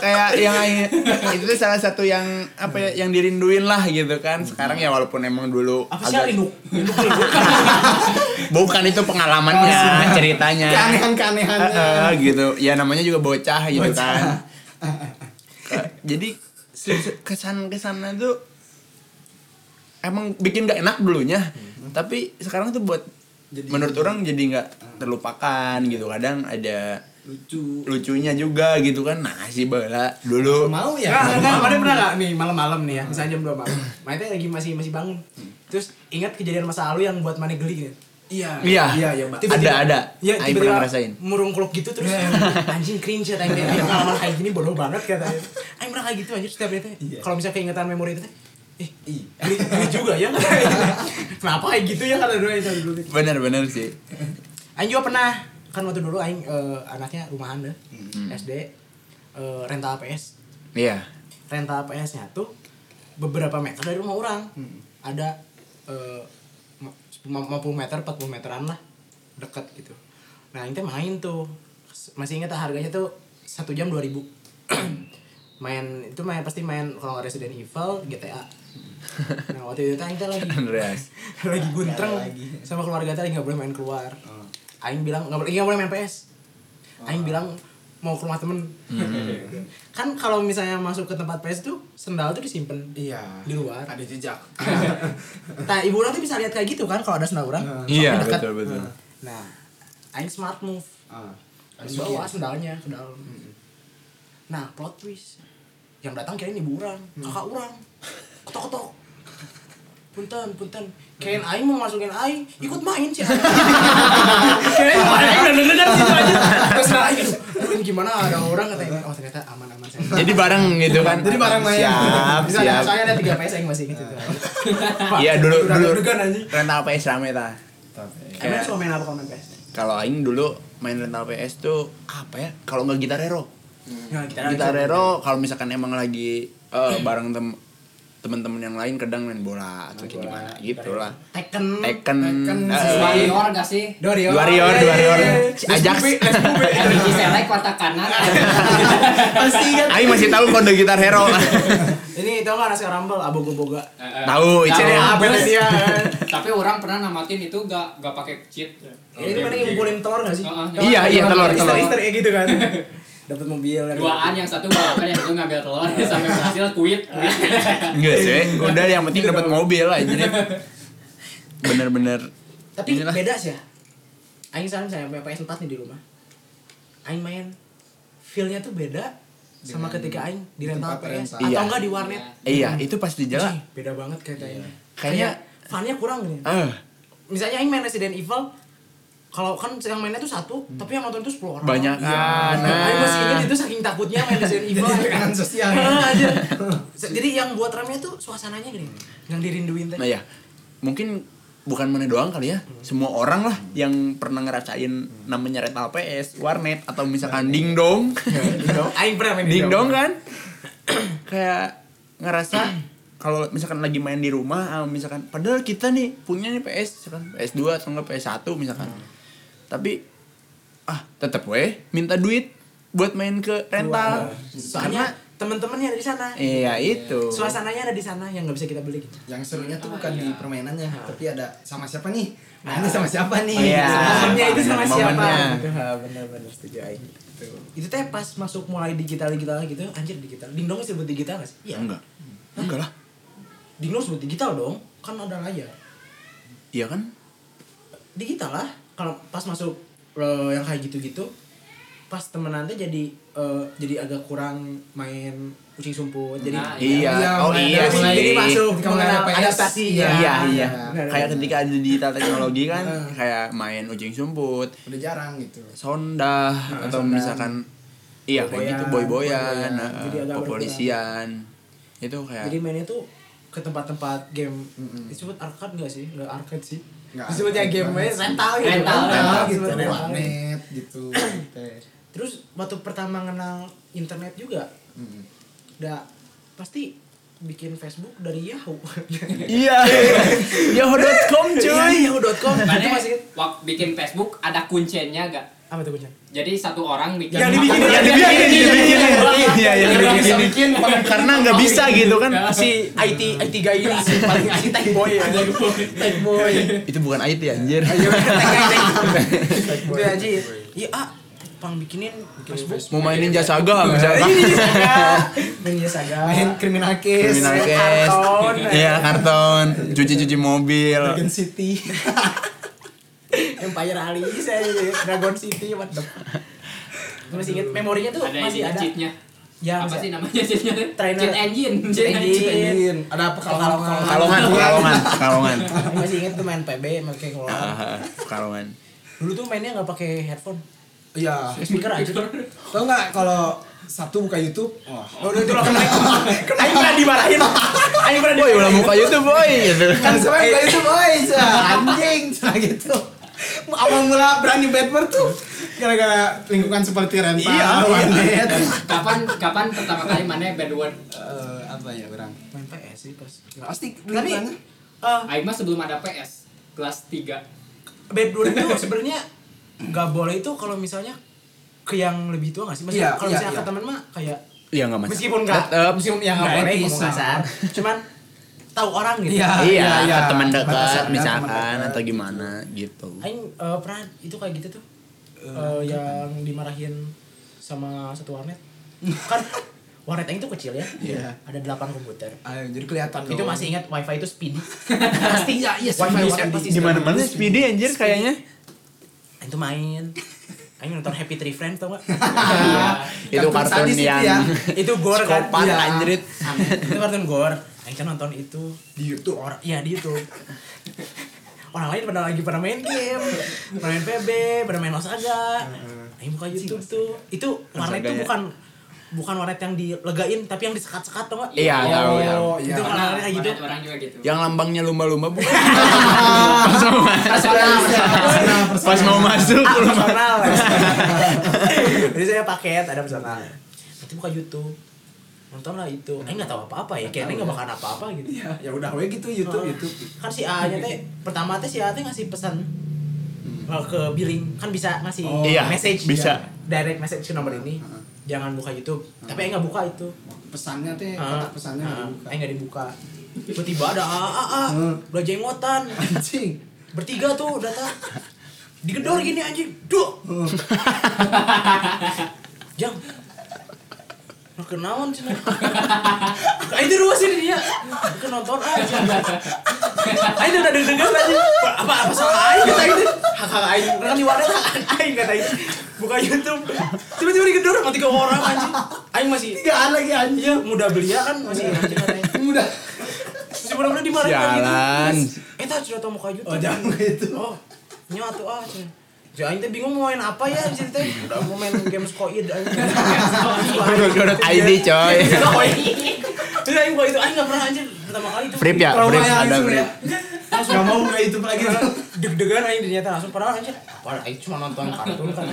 Speaker 4: kayak yang aing- itu tuh salah satu yang apa ya yang dirinduin lah gitu kan sekarang ya walaupun emang dulu
Speaker 1: Apa sih Rindu? Rindu
Speaker 4: bukan itu pengalamannya ceritanya
Speaker 3: keanehan
Speaker 4: Eh,
Speaker 3: keanehannya
Speaker 4: eh, gitu ya namanya juga bocah gitu kan Ke- jadi kesan kesannya tuh emang bikin gak enak dulunya tapi sekarang tuh buat menurut orang jadi nggak terlupakan gitu kadang ada
Speaker 3: lucu
Speaker 4: lucunya juga gitu kan nah si bala dulu
Speaker 3: mau ya
Speaker 1: Enggak, enggak, kemarin pernah enggak nih malam-malam nih ya, misalnya jam 2 malam. Mana teh lagi masih masih bangun. Terus ingat kejadian masa lalu yang buat mana geli gitu.
Speaker 3: iya
Speaker 4: Iya.
Speaker 3: iya iya mbak
Speaker 4: ada ada
Speaker 1: Ya,
Speaker 4: Aing
Speaker 1: tiba-tiba
Speaker 4: pernah ngerasain
Speaker 1: murung kuluk gitu terus anjing cringe ya tanya pengalaman kayak gini bodoh banget katanya. Aing pernah kayak gitu anjir setiap hari teh.
Speaker 3: Iya.
Speaker 1: Kalau misalnya keingetan memori itu teh, eh
Speaker 3: Ih.
Speaker 1: geli, geli juga ya. Kenapa kayak gitu ya kata dua itu dulu.
Speaker 4: bener bener sih
Speaker 1: Aing juga pernah kan waktu dulu aing eh, anaknya rumahan deh. SD eh, rental PS.
Speaker 4: iya
Speaker 1: rental PS-nya tuh beberapa meter dari rumah orang. Ada eh, ma- 50 meter, 40 meteran lah deket gitu. Nah, ini teh main tuh. Masih ingat ah, harganya tuh satu jam 2000. main itu main pasti main kalau nggak Resident Evil, GTA. Nah, waktu itu teh aing teh lagi
Speaker 4: Andreas
Speaker 1: lagi guntreng
Speaker 3: lagi. Oh.
Speaker 1: sama keluarga tadi nggak boleh main keluar. Aing bilang nggak boleh nggak boleh main PS. Aing bilang mau ke rumah temen. kan kalau misalnya masuk ke tempat PS tuh sendal tuh disimpan
Speaker 3: iya
Speaker 1: di luar.
Speaker 3: ada jejak
Speaker 1: Nah ibu orang tuh bisa lihat kayak gitu kan kalau ada sendal orang.
Speaker 4: iya
Speaker 1: dekat.
Speaker 4: betul betul
Speaker 1: Nah, Aing smart move.
Speaker 3: Ah.
Speaker 1: Aing bawa sendalnya ke dalam. Nah plot twist yang datang kirain ibu orang, kakak orang, ketok-ketok. Punten, punten. Kain Aing mau masukin Aing, ikut main sih. Kain Aing udah denger situ aja. Terus Aing, aduh ini gimana ada orang katanya. Oh ternyata aman-aman saja.
Speaker 4: jadi bareng gitu kan
Speaker 3: Jadi bareng main.
Speaker 4: siap
Speaker 1: Bisa ada
Speaker 4: siap
Speaker 1: soalnya ada 3 PS yang masih ingat itu.
Speaker 4: iya dulu
Speaker 1: Udah
Speaker 4: dulu Iya.
Speaker 1: deg-degan anjing.
Speaker 4: rental PS rame ta
Speaker 3: eh.
Speaker 1: Emang suka main apa kalau main PS?
Speaker 4: kalau aing dulu main rental PS tuh apa ya kalau nggak gitar hero
Speaker 1: Ya,
Speaker 4: gitar hero kalau misalkan emang lagi eh, bareng tem teman-teman yang lain kadang main bola atau kayak gimana gitu lah
Speaker 1: Tekken.
Speaker 4: Tekken,
Speaker 3: Tekken,
Speaker 4: eh,
Speaker 1: Iya.
Speaker 2: warrior gak sih
Speaker 1: Dorian.
Speaker 4: Warrior,
Speaker 1: Iya, iya,
Speaker 4: Warrior.
Speaker 1: iya.
Speaker 4: Si Ajax.
Speaker 2: energi selek kotak kanan
Speaker 1: Pasti ingat.
Speaker 4: Aing masih tahu kode gitar hero.
Speaker 1: Ini tau gak nasi Rumble, abogo-boga.
Speaker 4: Tahu, itu
Speaker 2: Tahu.
Speaker 4: ya.
Speaker 1: Abis
Speaker 2: Terus-
Speaker 1: Eh, dia.
Speaker 2: tapi orang pernah namatin itu gak gak pakai cheat
Speaker 1: Ini mana yang ngumpulin telur gak sih?
Speaker 2: Heeh.
Speaker 4: Iya, iya, telur,
Speaker 1: Easter-
Speaker 4: telur.
Speaker 1: Easter egg gitu kan. Dapat mobil. dapat-
Speaker 2: ah. duaan yang satu bawakan yang satu ngambil telur sampai berhasil kuit
Speaker 4: Enggak sih, udah yang penting dapat mobil aja. bener-bener
Speaker 1: tapi
Speaker 4: Inilah.
Speaker 1: beda sih ya Aing sekarang saya punya PS 4 nih di rumah Aing main feel-nya tuh beda sama
Speaker 3: Dengan
Speaker 1: ketika Aing di rental
Speaker 3: tempat
Speaker 1: PS
Speaker 3: rental.
Speaker 1: atau
Speaker 4: Iya.
Speaker 1: enggak di warnet
Speaker 4: iya itu pasti jalan
Speaker 1: Ih, beda banget kayaknya
Speaker 4: Kayaknya-
Speaker 1: fun-nya kurang nih
Speaker 4: ah
Speaker 1: misalnya Aing main Resident Evil kalau kan yang mainnya tuh satu tapi yang nonton tuh 10 orang
Speaker 4: Hmm.
Speaker 1: Iya.
Speaker 4: banyak kan
Speaker 1: Aing masih
Speaker 4: nah.
Speaker 1: ingat itu saking takutnya main Resident Evil
Speaker 3: Jadi tekanan sosial.
Speaker 1: Heeh, aja. jadi yang buat ramenya tuh suasananya gini yang dirinduin teh
Speaker 4: Nah ya, mungkin bukan mana doang kali ya. Semua orang lah yang pernah ngerasain namanya rental PS, warnet atau misalkan dingdong.
Speaker 1: Aing pernah main
Speaker 4: dingdong kan? Kayak ngerasa kalau misalkan lagi main di rumah, ah, misalkan padahal kita nih punya nih PS, misalkan PS2 atau enggak PS1 misalkan. Tapi ah tetap weh minta duit buat main ke rental.
Speaker 1: soalnya teman-temannya ada di sana
Speaker 4: Iya itu.
Speaker 1: suasananya ada di sana yang nggak bisa kita beli gitu.
Speaker 3: yang serunya tuh
Speaker 2: Ah,
Speaker 3: bukan
Speaker 2: iya.
Speaker 3: di permainannya tapi ada sama siapa nih nah ini sama siapa nih
Speaker 4: Iya.
Speaker 3: Sama siapa?
Speaker 1: Momennya itu sama siapa?
Speaker 4: Momennya.
Speaker 1: Ah, Benar-benar setuju Aing. Itu teh pas masuk mulai digital digital gitu, anjir digital. Dingdong sebut digital nggak sih? Iya.
Speaker 4: Ya, Enggak. Enggak lah.
Speaker 1: Dingdong sebut digital dong, kan ada aja.
Speaker 4: Iya kan?
Speaker 1: Digital lah. Kalau pas masuk eh, yang kayak gitu-gitu, pas temenan teh jadi eh, jadi agak kurang main kucing sumput. Jadi
Speaker 2: Nah,
Speaker 4: Iya.
Speaker 3: Iya,
Speaker 4: Oh
Speaker 3: mulai
Speaker 4: iya
Speaker 3: dari
Speaker 4: sih.
Speaker 3: sini
Speaker 1: jadi masuk
Speaker 3: Ketika mulai
Speaker 1: mengenal
Speaker 3: ada PS,
Speaker 1: adaptasinya.
Speaker 4: Iya, iya.
Speaker 1: ya. Benar,
Speaker 4: Kayak
Speaker 1: benar.
Speaker 4: ketika ada digital teknologi kan, kayak main ujung sumput,
Speaker 3: udah jarang gitu
Speaker 4: sondah atau
Speaker 3: sondah.
Speaker 4: misalkan iya kayak gitu boy-boyan,
Speaker 1: boy-boyan.
Speaker 4: nah,
Speaker 1: Jadi agak
Speaker 4: kepolisian. Itu kayak
Speaker 1: Jadi mainnya tuh ke tempat-tempat game disebut arcade nggak sih? Nggak arcade sih.
Speaker 3: Nggak
Speaker 1: Disebutnya
Speaker 3: arcade
Speaker 1: game
Speaker 3: banget.
Speaker 1: rental gitu.
Speaker 2: Rental,
Speaker 1: Rental,
Speaker 2: rental
Speaker 1: gitu.
Speaker 3: gitu ada
Speaker 1: Rental.
Speaker 3: warnet gitu
Speaker 1: Terus waktu pertama kenal internet juga, udah pasti bikin Facebook dari Yahoo.
Speaker 4: Iya. Yahoo.com
Speaker 1: Iya,
Speaker 4: cuy.
Speaker 1: Yahoo.com. Itu
Speaker 2: Makanya
Speaker 1: masih
Speaker 2: waktu bikin Facebook ada kuncinya gak?
Speaker 1: apa tuh Gunjan?
Speaker 2: Jadi satu orang bikin
Speaker 1: Yang dibikin,
Speaker 2: Apa?
Speaker 1: yang
Speaker 4: dibikinin, dibikinin. Iya, yang
Speaker 2: Yang
Speaker 4: dibikinin.
Speaker 2: bisa bikin
Speaker 1: iya.
Speaker 4: Karena nggak bisa gitu kan.
Speaker 1: Si IT IT guy ini si paling IT tech boy ya. Tech boy.
Speaker 4: Itu bukan IT anjir.
Speaker 1: Iya, Itu aja. Iya, ah, pang bikinin Facebook.
Speaker 4: Mau mainin jasa gak misalkan?
Speaker 1: Iya. Media Saga.
Speaker 3: main criminal case
Speaker 4: Criminal case.
Speaker 1: Karton.
Speaker 4: Iya, karton, cuci-cuci mobil.
Speaker 3: Dragon City
Speaker 1: Empire Alice saya Dragon City what the fuck. Gue masih inget memorinya tuh
Speaker 2: Ada
Speaker 1: masih
Speaker 2: yang
Speaker 1: ada.
Speaker 2: cheatnya
Speaker 1: Ya,
Speaker 2: Apa
Speaker 1: bisa.
Speaker 2: sih namanya cheatnya?
Speaker 1: Trainer.
Speaker 2: Cheat engine Cheat
Speaker 1: Engine.
Speaker 2: engine
Speaker 3: ada apa kalau
Speaker 4: Kalongan, kalongan, kalongan.
Speaker 1: Gue masih inget tuh main PB pakai keluar.
Speaker 4: Ah, kalongan.
Speaker 1: Dulu tuh mainnya nggak pakai headphone.
Speaker 3: iya
Speaker 1: Speaker aja.
Speaker 3: tau nggak kalau Sabtu buka YouTube wah
Speaker 1: Oh, udah itu lah kena. Aing pernah dimarahin. Aing pernah
Speaker 4: Boy, ulah
Speaker 1: dimarahin.
Speaker 4: muka YouTube, boy. Gitu.
Speaker 3: kan semua buka YouTube boy anjing Cah, gitu awal mula berani Bedford tuh gara-gara lingkungan seperti rental
Speaker 4: Iya.
Speaker 3: warnet
Speaker 2: Kapan kapan pertama kali mana bedword?
Speaker 3: Eh, apa ya orang Kan
Speaker 1: Main PS sih pas.
Speaker 3: pasti
Speaker 1: Tapi
Speaker 3: lingkungannya.
Speaker 1: eh
Speaker 2: Aing mah sebelum ada PS kelas 3
Speaker 1: bedroom itu sebenarnya nggak boleh itu kalau misalnya ke yang lebih tua nggak sih? Maksudnya
Speaker 3: Iya,
Speaker 1: kalau
Speaker 3: iya,
Speaker 1: misalnya ke
Speaker 3: iya.
Speaker 1: teman mah kayak
Speaker 4: Iya, enggak masalah.
Speaker 1: meskipun nggak
Speaker 4: Tetep.
Speaker 1: meskipun ya nggak
Speaker 3: Nggak
Speaker 1: boleh
Speaker 3: etis,
Speaker 1: ngomong kasar, cuman tahu orang gitu.
Speaker 3: Iya.
Speaker 4: Iya,
Speaker 3: iya.
Speaker 4: ke teman dekat
Speaker 3: Batasannya teman
Speaker 4: misalkan
Speaker 3: dekat.
Speaker 4: atau gimana gitu.
Speaker 1: Aing eh, pernah itu kayak gitu tuh Eh, yang dimarahin sama satu warnet kan warnet Aing tuh kecil ya
Speaker 3: Iya.
Speaker 1: ada delapan komputer
Speaker 3: Ayo, jadi kelihatan
Speaker 1: itu
Speaker 3: dong.
Speaker 1: masih ingat wifi itu speedy pasti ya iya
Speaker 3: wifi
Speaker 1: wifi
Speaker 3: warnet
Speaker 1: pasti
Speaker 4: Di mana-mana speedy anjir kayaknya.
Speaker 1: Aing tuh main Aing nonton Happy Tree Friends tau gak
Speaker 4: Itu
Speaker 3: Kartun
Speaker 4: kartun
Speaker 3: sadis itu
Speaker 4: yang
Speaker 3: ya.
Speaker 1: itu gore kan
Speaker 4: Skopan,
Speaker 1: Iya.
Speaker 4: anjir.
Speaker 1: itu kartun gore Aing kan nonton itu di YouTube orang iya di YouTube orang lain pada lagi pada main game pada main PB pada main Osaga Aing buka YouTube tuh itu warnet
Speaker 4: Osaga
Speaker 1: tuh
Speaker 4: ya.
Speaker 1: bukan bukan warnet yang dilegain tapi yang disekat-sekat tau gak
Speaker 4: Iya, tahu ya.
Speaker 3: Oh,
Speaker 1: itu
Speaker 3: iya.
Speaker 1: orang lain kayak gitu
Speaker 2: Warnet orang juga gitu
Speaker 4: Yang lambangnya lumba-lumba bukan.
Speaker 3: Personal,
Speaker 4: Pas mau masuk
Speaker 1: ah
Speaker 4: lumba.
Speaker 1: personal ya. jadi saya paket ada personal nanti buka YouTube nonton lah itu Aing nggak tahu apa-apa ya kayaknya nggak bakalan apa-apa gitu
Speaker 3: Ya, ya udah we gitu YouTube
Speaker 1: Ah.
Speaker 3: YouTube.
Speaker 1: kan si A nya teh pertama teh si A teh ngasih pesan eh, ke billing kan bisa ngasih
Speaker 3: Oh,
Speaker 4: Iya,
Speaker 1: message
Speaker 4: bisa.
Speaker 1: direct message ke nomor ini
Speaker 3: Heeh.
Speaker 1: jangan buka YouTube tapi Aing nggak buka itu
Speaker 3: Pesannya teh
Speaker 1: Ah,
Speaker 3: Eh, kotak pesannya
Speaker 1: ah,
Speaker 3: dibuka.
Speaker 1: Aing nggak dibuka tiba-tiba ada A A A
Speaker 3: Hmm.
Speaker 1: udah jenggotan
Speaker 3: Anjing.
Speaker 1: bertiga tuh data digedor gini anjing duh jang Nah, kenaon sih Nah, itu ruas ini dia Ke nonton aja Aing udah deg-degan aja. Apa apa salah aing kata ini. Hak hak aing. Orang di wadah hak hak aing kata ini. Buka YouTube. Tiba-tiba digedor sama tiga orang anjing. Aing masih
Speaker 3: Tigaan lagi anjing.
Speaker 1: iya muda belia kan masih anjing katanya.
Speaker 3: Mudah.
Speaker 1: Masih bener-bener dimarahin kan gitu.
Speaker 4: Sialan.
Speaker 1: Terus, Eta cerita mau kayu
Speaker 3: Oh, jangan gitu.
Speaker 1: Oh, nyawa tuh ah. cenah. Ya aing teh bingung mau main apa ya anjing teh. Udah mau main games koid anjing.
Speaker 4: ID coy.
Speaker 1: Terus Iya, aing buka itu aing enggak pernah anjir pertama kali itu.
Speaker 4: Frip ya,
Speaker 3: Trauma
Speaker 4: frip
Speaker 3: yang
Speaker 4: ada
Speaker 3: langsung
Speaker 4: frip.
Speaker 3: ya. Gak mau buka YouTube lagi.
Speaker 1: deg-degan aja ternyata langsung padahal anjir padahal aja cuma nonton kartun kan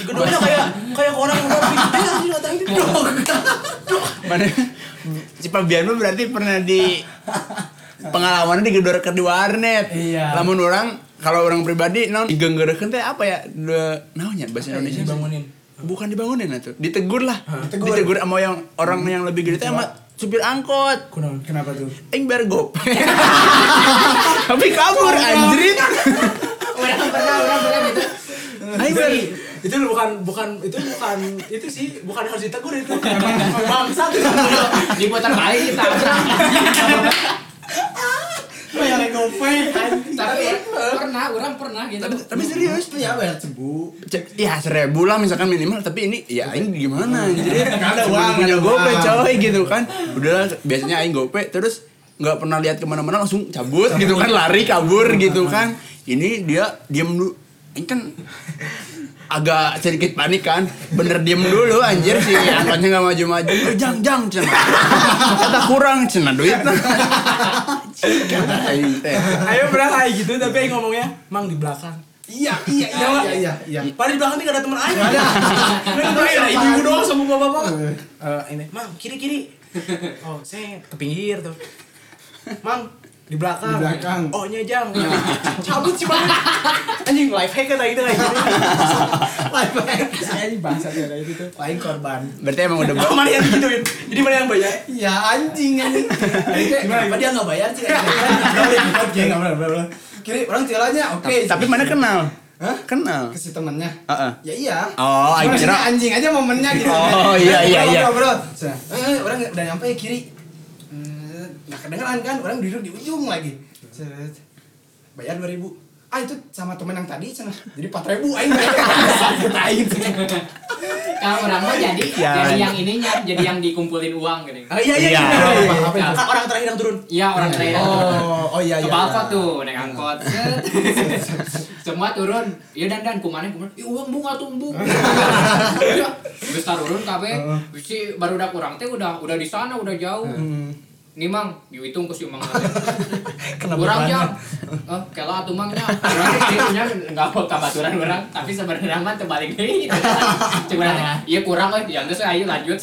Speaker 1: digedornya kayak kayak orang udah pindah anjir kata itu dong
Speaker 4: Mana? Si Fabian mah berarti pernah di pengalaman digedor ke di warnet.
Speaker 3: Iya.
Speaker 4: Lamun orang kalau orang pribadi naon digenggerekeun teh apa ya? De naonnya bahasa Indonesia?
Speaker 3: Dibangunin.
Speaker 4: Bukan dibangunin atuh, ditegur lah.
Speaker 3: Ditegur.
Speaker 4: Ditegur sama yang orang yang lebih gede teh sama supir angkot.
Speaker 3: Kunaon? Kenapa tuh?
Speaker 4: Aing bayar gop. Tapi kabur anjrit.
Speaker 2: Orang pernah, orang pernah gitu.
Speaker 4: Aing bayar
Speaker 1: itu bukan bukan itu bukan itu sih bukan harus ditegur itu bangsa tuh
Speaker 2: Diputar balik ditabrak.
Speaker 3: Bayar GoPay anjing.
Speaker 2: Tapi pernah, orang pernah gitu.
Speaker 4: tapi, tapi serius
Speaker 3: Itu ya bayar cebu.
Speaker 4: C- ya seribu lah misalkan minimal tapi ini ya aing gimana jadi
Speaker 3: Nggak ada uang, nggak
Speaker 4: punya
Speaker 3: ada
Speaker 4: gope
Speaker 3: uang.
Speaker 4: coy gitu kan udahlah biasanya aing gope terus nggak pernah lihat kemana-mana langsung cabut gitu kan lari kabur gitu kan ini dia diam dulu aing kan agak sedikit panik kan bener diem dulu anjir si angkotnya nggak maju-maju Eh, jang jang cina kata kurang cina duit Aing teh.
Speaker 1: ayo pernah kayak gitu tapi aing ngomongnya mang di belakang
Speaker 3: Iya, iya, iya,
Speaker 1: Nyawa.
Speaker 3: iya, iya.
Speaker 1: Padahal di belakang nih gak ada temen aing Gak ada Ada ibu doang sama bapak-bapak Eh, Ini, mang kiri-kiri Oh, saya ke pinggir tuh Mang, di belakang
Speaker 3: Di belakang.
Speaker 1: Oh, nyejang Cabut sih bang Anjing, life hack kata itu kayak gitu
Speaker 3: Live hack. Saya ini bangsa ada itu tuh. Paling korban.
Speaker 4: berarti emang udah
Speaker 1: Oh, mana yang digituin? Jadi mana yang bayar?
Speaker 4: Iya,
Speaker 3: Ya anjing anjing. Jadi kayak, Kenapa dia nggak bayar sih? Oke, nggak benar, benar, benar. Kiri orang jalannya oke.
Speaker 4: tapi mana kenal
Speaker 3: Hah?
Speaker 4: kenal
Speaker 3: ke si temennya.
Speaker 4: Heeh.
Speaker 3: Ya iya.
Speaker 4: Oh, I
Speaker 3: Cuma
Speaker 4: kira-
Speaker 3: sini anjing aja momennya gitu.
Speaker 4: Oh, iya, iya, iya.
Speaker 3: Bro, Eh, orang udah nyampe kiri. Eh, Nggak kedengeran kan? Orang duduk di ujung lagi. Set. Bayar 2000 ah itu sama temen yang tadi sana jadi 4000 ribu aing bayar Sakit aing
Speaker 2: Kalau orang mah jadi
Speaker 4: Ya.
Speaker 2: jadi yang ininya, jadi yang dikumpulin uang gitu.
Speaker 3: Ah,
Speaker 1: Oh, iya, iya,
Speaker 4: Iya.
Speaker 1: iya
Speaker 3: Apa itu?
Speaker 1: Kakak orang terakhir yang turun
Speaker 2: Iya orang lain.
Speaker 3: oh oh iya
Speaker 2: ke
Speaker 3: iya
Speaker 2: balkon tuh naik angkot set. semua turun ya dan dan kumane kumane ih uang bunga tumbuk Ya, geus turun kabe si baru udah kurang teh udah udah di sana udah jauh Nih mang, dihitung ke si mang teh.
Speaker 3: Kena
Speaker 2: Urang jam.
Speaker 3: beban.
Speaker 2: Eh, kela atuh mang nya. Urang teh nya enggak mau kabaturan urang, tapi sebenarnya mah teu balik deui. gitu kan. Cuma ieu kurang eh." euy, yang geus ayo lanjut.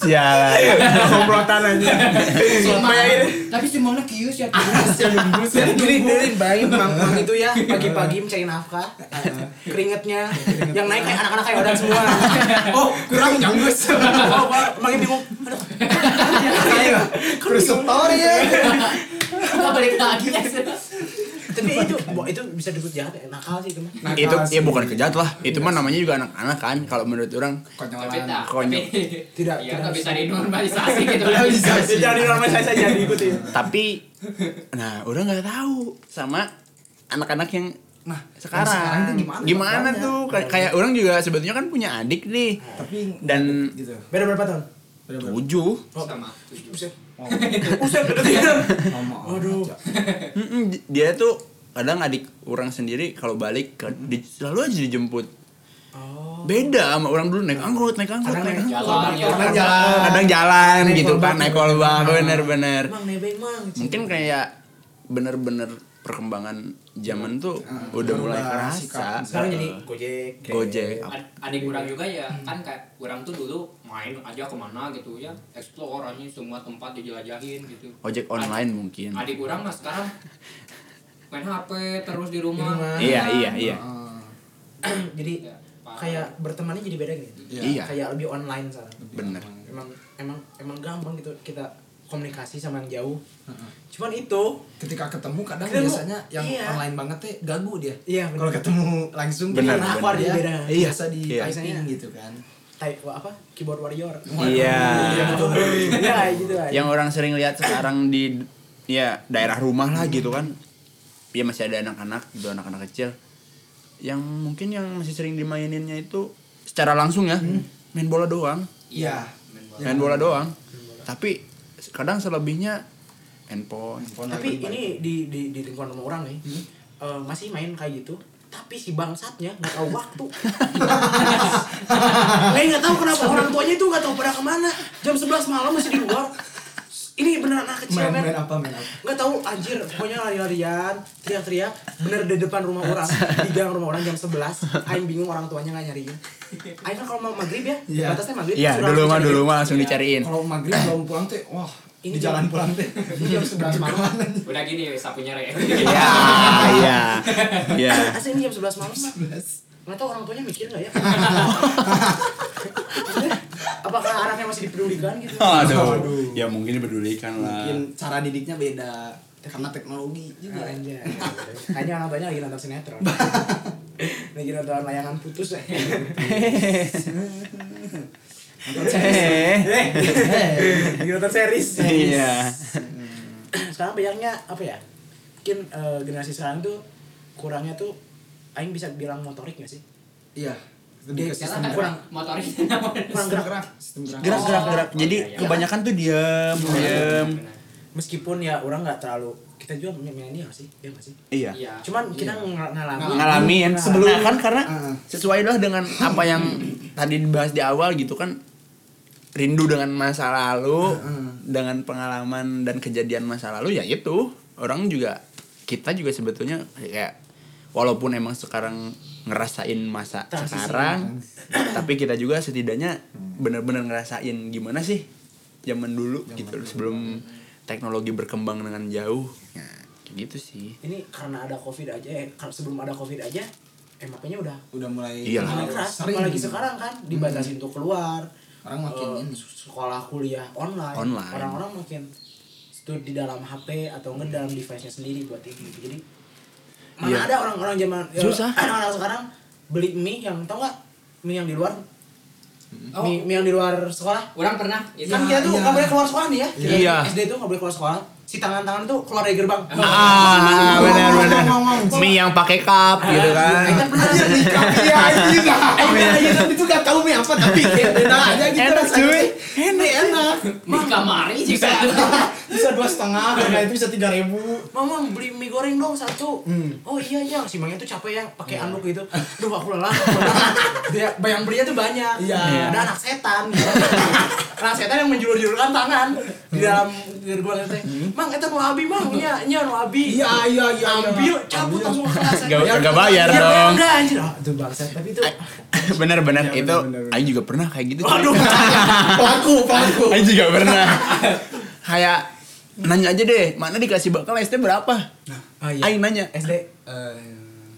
Speaker 4: Sialan.
Speaker 1: Komplotan aja
Speaker 2: Tapi si mangna kieu
Speaker 3: ya,
Speaker 2: sia.
Speaker 1: Gini, dengerin bayangin mang, mang itu ya Pagi-pagi mencari nafkah Eh, Iya, Keringetnya Yang naik kayak anak-anak kayak orang semua
Speaker 3: oh kurang janggus
Speaker 1: Oh, Bang, makin bingung Aduh, Iya.
Speaker 3: ayo terus setor ya
Speaker 2: balik lagi ya.
Speaker 1: tapi itu bo- itu bisa disebut jahat ya nakal sih itu mah
Speaker 3: Nakal
Speaker 4: itu
Speaker 3: sih.
Speaker 4: ya bukan kejat lah itu mah namanya juga anak-anak kan kalau menurut orang
Speaker 2: Tapi
Speaker 3: konyolan
Speaker 2: tak,
Speaker 4: Konyol.
Speaker 2: tapi-
Speaker 1: Tidak-
Speaker 2: Iya,
Speaker 1: tidak
Speaker 2: nggak
Speaker 1: bisa.
Speaker 2: bisa dinormalisasi gitu.
Speaker 3: bisa.
Speaker 1: Ya, jangan normalisasi saja jangan diikuti
Speaker 4: tapi nah orang nggak tahu sama anak-anak yang
Speaker 3: nah
Speaker 4: sekarang,
Speaker 3: sekarang tuh
Speaker 4: gimana,
Speaker 3: gimana
Speaker 4: tuh Kay- kayak orang juga sebetulnya kan punya adik nih
Speaker 3: tapi
Speaker 4: dan
Speaker 3: gitu
Speaker 1: beda berapa tahun
Speaker 4: tujuh
Speaker 2: Sama.
Speaker 1: Buset. Buset, beda tiga.
Speaker 4: Oh,
Speaker 3: Waduh.
Speaker 4: Mm-mm, di- dia tuh kadang adik orang sendiri kalau balik ke, di- selalu aja dijemput
Speaker 1: Oh.
Speaker 4: beda sama orang dulu naik angkot naik angkot naik angkot
Speaker 2: Jalan, ya.
Speaker 3: Kadang jalan.
Speaker 4: kadang jalan
Speaker 3: Naik
Speaker 4: gitu
Speaker 3: kolbak. Nah,
Speaker 4: kan naik kolbak bener-bener
Speaker 1: Mang nebeng mang.
Speaker 4: mungkin kayak bener-bener perkembangan zaman tuh udah mulai
Speaker 3: berubah, sikap.
Speaker 4: kerasa
Speaker 1: Ah. Sekarang jadi Gojek. kayak-
Speaker 4: gojek apa.
Speaker 2: Ad- Adik kurang juga ya, kan kayak kurang tuh dulu main aja kemana gitu ya, explore aja semua tempat dijelajahin gitu.
Speaker 4: ojek online mungkin
Speaker 2: Adik kurang mas sekarang main HP terus di rumah.
Speaker 4: iya iya iya
Speaker 1: Ah. jadi
Speaker 2: Ya, parah.
Speaker 1: kayak bertemannya jadi beda gitu.
Speaker 3: Iya.
Speaker 4: Iya.
Speaker 1: Kayak lebih online sekarang.
Speaker 4: bener
Speaker 1: Emang emang emang gampang gitu kita komunikasi sama yang jauh. Cuman itu
Speaker 3: ketika ketemu kadang
Speaker 1: Ketemu.
Speaker 3: biasanya yang
Speaker 1: Iya.
Speaker 3: online banget teh gagu dia
Speaker 1: Iya, bener.
Speaker 3: kalau ketemu langsung tuh
Speaker 4: Bener,
Speaker 3: nakal
Speaker 1: bener.
Speaker 3: dia
Speaker 1: Beda.
Speaker 3: iya biasa di
Speaker 4: Iya.
Speaker 3: typing gitu kan
Speaker 1: type apa? Keyboard warrior.
Speaker 4: iya
Speaker 1: Iya, gitu aja.
Speaker 4: yang orang sering lihat sekarang di ya daerah rumah lah gitu kan ya masih ada anak-anak gitu anak-anak kecil yang mungkin yang masih sering dimaininnya itu secara langsung ya
Speaker 1: Hmm.
Speaker 4: main bola doang
Speaker 3: Iya.
Speaker 1: Ya.
Speaker 4: main bola doang tapi kadang selebihnya handphone
Speaker 1: tapi ini di, di di lingkungan rumah orang nih
Speaker 3: Hmm.
Speaker 1: eh, masih main kayak gitu tapi si bangsatnya nggak tahu waktu Lain nggak tahu kenapa orang tuanya itu nggak tahu pada kemana jam 11 malam masih di luar ini bener anak kecil
Speaker 3: Main
Speaker 1: men
Speaker 3: main apa main apa?
Speaker 1: nggak tahu anjir pokoknya lari-larian teriak-teriak bener di depan rumah orang di gang rumah orang jam 11 Aing bingung orang tuanya nggak nyariin Aing kan kalau mau maghrib ya
Speaker 3: Iya.
Speaker 1: batasnya maghrib
Speaker 4: Iya,
Speaker 1: sudah
Speaker 4: dulu mah
Speaker 1: langsung
Speaker 4: dulu
Speaker 1: cari-
Speaker 4: mah langsung dicariin.
Speaker 3: Kalau maghrib belum pulang teh, wah
Speaker 1: Ini
Speaker 3: di jalan
Speaker 1: jam-
Speaker 3: pulang teh.
Speaker 1: ini jam 11 malam
Speaker 2: Udah gini ya, sapunya re.
Speaker 4: Iya, iya. Iya.
Speaker 1: asli ini Ah, jam 11 malam mah Nggak tahu orang tuanya mikir nggak ya? Maksudnya, Apakah anaknya masih dipedulikan gitu?
Speaker 4: Iya. Aduh. Ya mungkin dipedulikan lah.
Speaker 3: Mungkin
Speaker 1: Nah.
Speaker 3: cara didiknya beda karena teknologi juga.
Speaker 1: Iya, Anjay. Kayaknya orang tuanya lagi nonton sinetron. lagi nonton layangan putus ya.
Speaker 4: Eh.
Speaker 1: lagi nonton series.
Speaker 4: Iya.
Speaker 1: Sekarang banyaknya apa ya? Mungkin eh, generasi sekarang tuh kurangnya tuh Aing bisa bilang motorik gak sih?
Speaker 3: Iya.
Speaker 1: Dia kan
Speaker 3: Lebih ke sistem
Speaker 2: Karena kan kurang motorik
Speaker 1: Kurang
Speaker 3: gerak.
Speaker 1: gerak.
Speaker 3: gerak. Sistem gerak.
Speaker 4: Gerak gerak gerak.
Speaker 2: Oh,
Speaker 4: Jadi
Speaker 2: iya, iya.
Speaker 4: kebanyakan tuh diam, diam.
Speaker 1: Meskipun ya orang gak terlalu... Kita juga milenial sih, ya gak sih?
Speaker 4: Iya.
Speaker 2: Iya.
Speaker 1: Cuman kita ng- ngalamin. Nah,
Speaker 4: Ngalamin sebelum
Speaker 1: Sebelum-
Speaker 4: kan karena
Speaker 3: Ah.
Speaker 4: sesuai lah dengan apa yang tadi dibahas di awal gitu kan rindu dengan masa lalu, dengan pengalaman dan kejadian masa lalu ya itu. Orang juga kita juga sebetulnya kayak walaupun emang sekarang ngerasain masa
Speaker 1: Transisi.
Speaker 4: sekarang tapi kita juga setidaknya bener-bener ngerasain gimana sih zaman dulu gitu sebelum teknologi berkembang dengan jauh. Nah, kayak gitu sih.
Speaker 1: ini karena ada covid aja eh, kar- sebelum ada covid aja eh makanya udah
Speaker 3: Udah mulai gitu.
Speaker 4: Iyalah.
Speaker 1: mulai keras apalagi sekarang kan dibatasi untuk keluar
Speaker 3: Orang makin
Speaker 1: eh,
Speaker 3: ini.
Speaker 1: sekolah kuliah online,
Speaker 4: Online.
Speaker 1: orang-orang makin studi dalam HP atau nggak dalam device-nya sendiri buat ini jadi mana
Speaker 4: Iya.
Speaker 1: ada orang-orang zaman ya,
Speaker 4: Susah.
Speaker 1: orang-orang sekarang beli mie yang tau nggak mie yang di luar
Speaker 2: Oh.
Speaker 1: mie, mie yang di luar sekolah
Speaker 2: Orang pernah itu.
Speaker 1: kan kita tuh
Speaker 3: iya.
Speaker 1: nggak boleh keluar sekolah nih ya Kita
Speaker 4: Iya.
Speaker 1: SD tuh nggak boleh keluar sekolah si tangan-tangan tuh keluar dari gerbang
Speaker 4: Ah, benar benar.
Speaker 3: Ngomong, ngomong, ngomong. Ah.
Speaker 4: Mie yang pakai cup gitu kan.
Speaker 1: Kita pernah
Speaker 3: Iya anjing. Iya anjing tapi tuh gak tahu mie apa tapi
Speaker 1: Iya.
Speaker 3: kayak beda aja gitu
Speaker 4: Enak, cuy.
Speaker 3: Enak enak.
Speaker 2: kan di kamari juga.
Speaker 3: Bisa dua setengah, karena itu bisa tiga ribu.
Speaker 1: Mamang beli mie goreng dong satu.
Speaker 3: Hmm.
Speaker 1: Oh iya iya, si Mangnya tuh capek ya pakai
Speaker 3: Iya.
Speaker 1: anduk gitu. Duh aku lelah. aku lelah. Dia bayang belinya tuh banyak.
Speaker 3: Iya.
Speaker 1: Ada anak setan. gitu. anak setan yang menjulur-julurkan tangan
Speaker 3: Hmm.
Speaker 1: di dalam gerbang itu. Mang kita mau abi mang, iya iya mau abi.
Speaker 3: Iya iya iya.
Speaker 1: Ambil cabut langsung ke kelas.
Speaker 4: Gak
Speaker 1: Biar-
Speaker 4: gak bayar
Speaker 1: biar
Speaker 4: dong.
Speaker 1: Enggak anjir. Ah, Itu bangsa tapi itu.
Speaker 4: Benar benar
Speaker 3: Iya,
Speaker 4: itu.
Speaker 3: benar, benar.
Speaker 4: Aing juga pernah kayak gitu.
Speaker 1: Waduh.
Speaker 3: Pelaku pelaku.
Speaker 4: Aing juga pernah. Kayak nanya aja deh, mana dikasih bakal SD berapa?
Speaker 1: Ah, iya.
Speaker 4: Aing nanya, "Eh,
Speaker 1: SD
Speaker 3: Eh.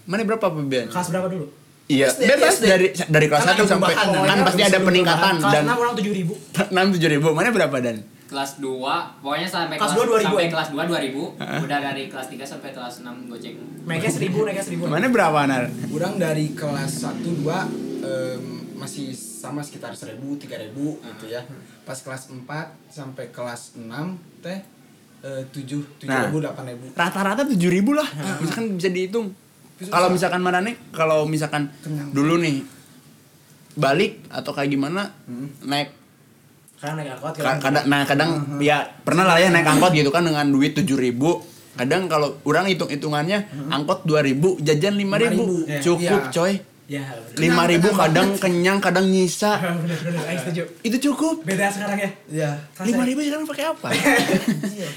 Speaker 4: mana berapa pembiayaan?
Speaker 1: kelas berapa dulu?
Speaker 4: Iya,
Speaker 3: SD,
Speaker 4: bebas
Speaker 3: SD.
Speaker 4: dari dari kelas
Speaker 3: Karena
Speaker 4: 1
Speaker 3: ada
Speaker 4: sampai
Speaker 3: perubahan,
Speaker 4: kan
Speaker 3: kan?
Speaker 4: pasti ada
Speaker 3: Sebelum
Speaker 4: peningkatan
Speaker 1: Kelas
Speaker 4: dan
Speaker 1: 6 orang 7 ribu.
Speaker 4: 6 7 ribu. Mana berapa dan?
Speaker 2: kelas 2 pokoknya sampai
Speaker 1: Kelas dua 2000.
Speaker 2: sampai kelas 2 2000 udah dari kelas 3 sampai kelas 6 goceng
Speaker 1: Naiknya seribu, naiknya seribu.
Speaker 4: Mana berapa Nar?
Speaker 3: Kurang dari kelas 1 2 masih sama sekitar 1000 3000 gitu ya. Pas kelas 4 sampai kelas 6 teh eh, 7
Speaker 4: Nah.
Speaker 3: 7000 8000.
Speaker 4: rata-rata tujuh ribu lah Nah, misalkan bisa dihitung kalau misalkan mana nih kalau misalkan
Speaker 3: Kenyang.
Speaker 4: dulu nih balik atau kayak gimana naik
Speaker 1: Karena naik angkot.
Speaker 4: ka- kadang nah kadang ya pernah lah ya naik angkot gitu kan dengan duit tujuh ribu kadang kalau orang hitung hitungannya angkot dua ribu jajan Hmm. lima ribu
Speaker 3: 5.000, ya.
Speaker 4: cukup
Speaker 3: Iya.
Speaker 4: coy
Speaker 1: Ya.
Speaker 4: lima ribu kadang kenyang kadang nyisa
Speaker 1: Bener-bener, Aing setuju.
Speaker 4: itu cukup
Speaker 1: beda sekarang ya
Speaker 3: Iya.
Speaker 4: lima ribu sekarang pakai apa Iya.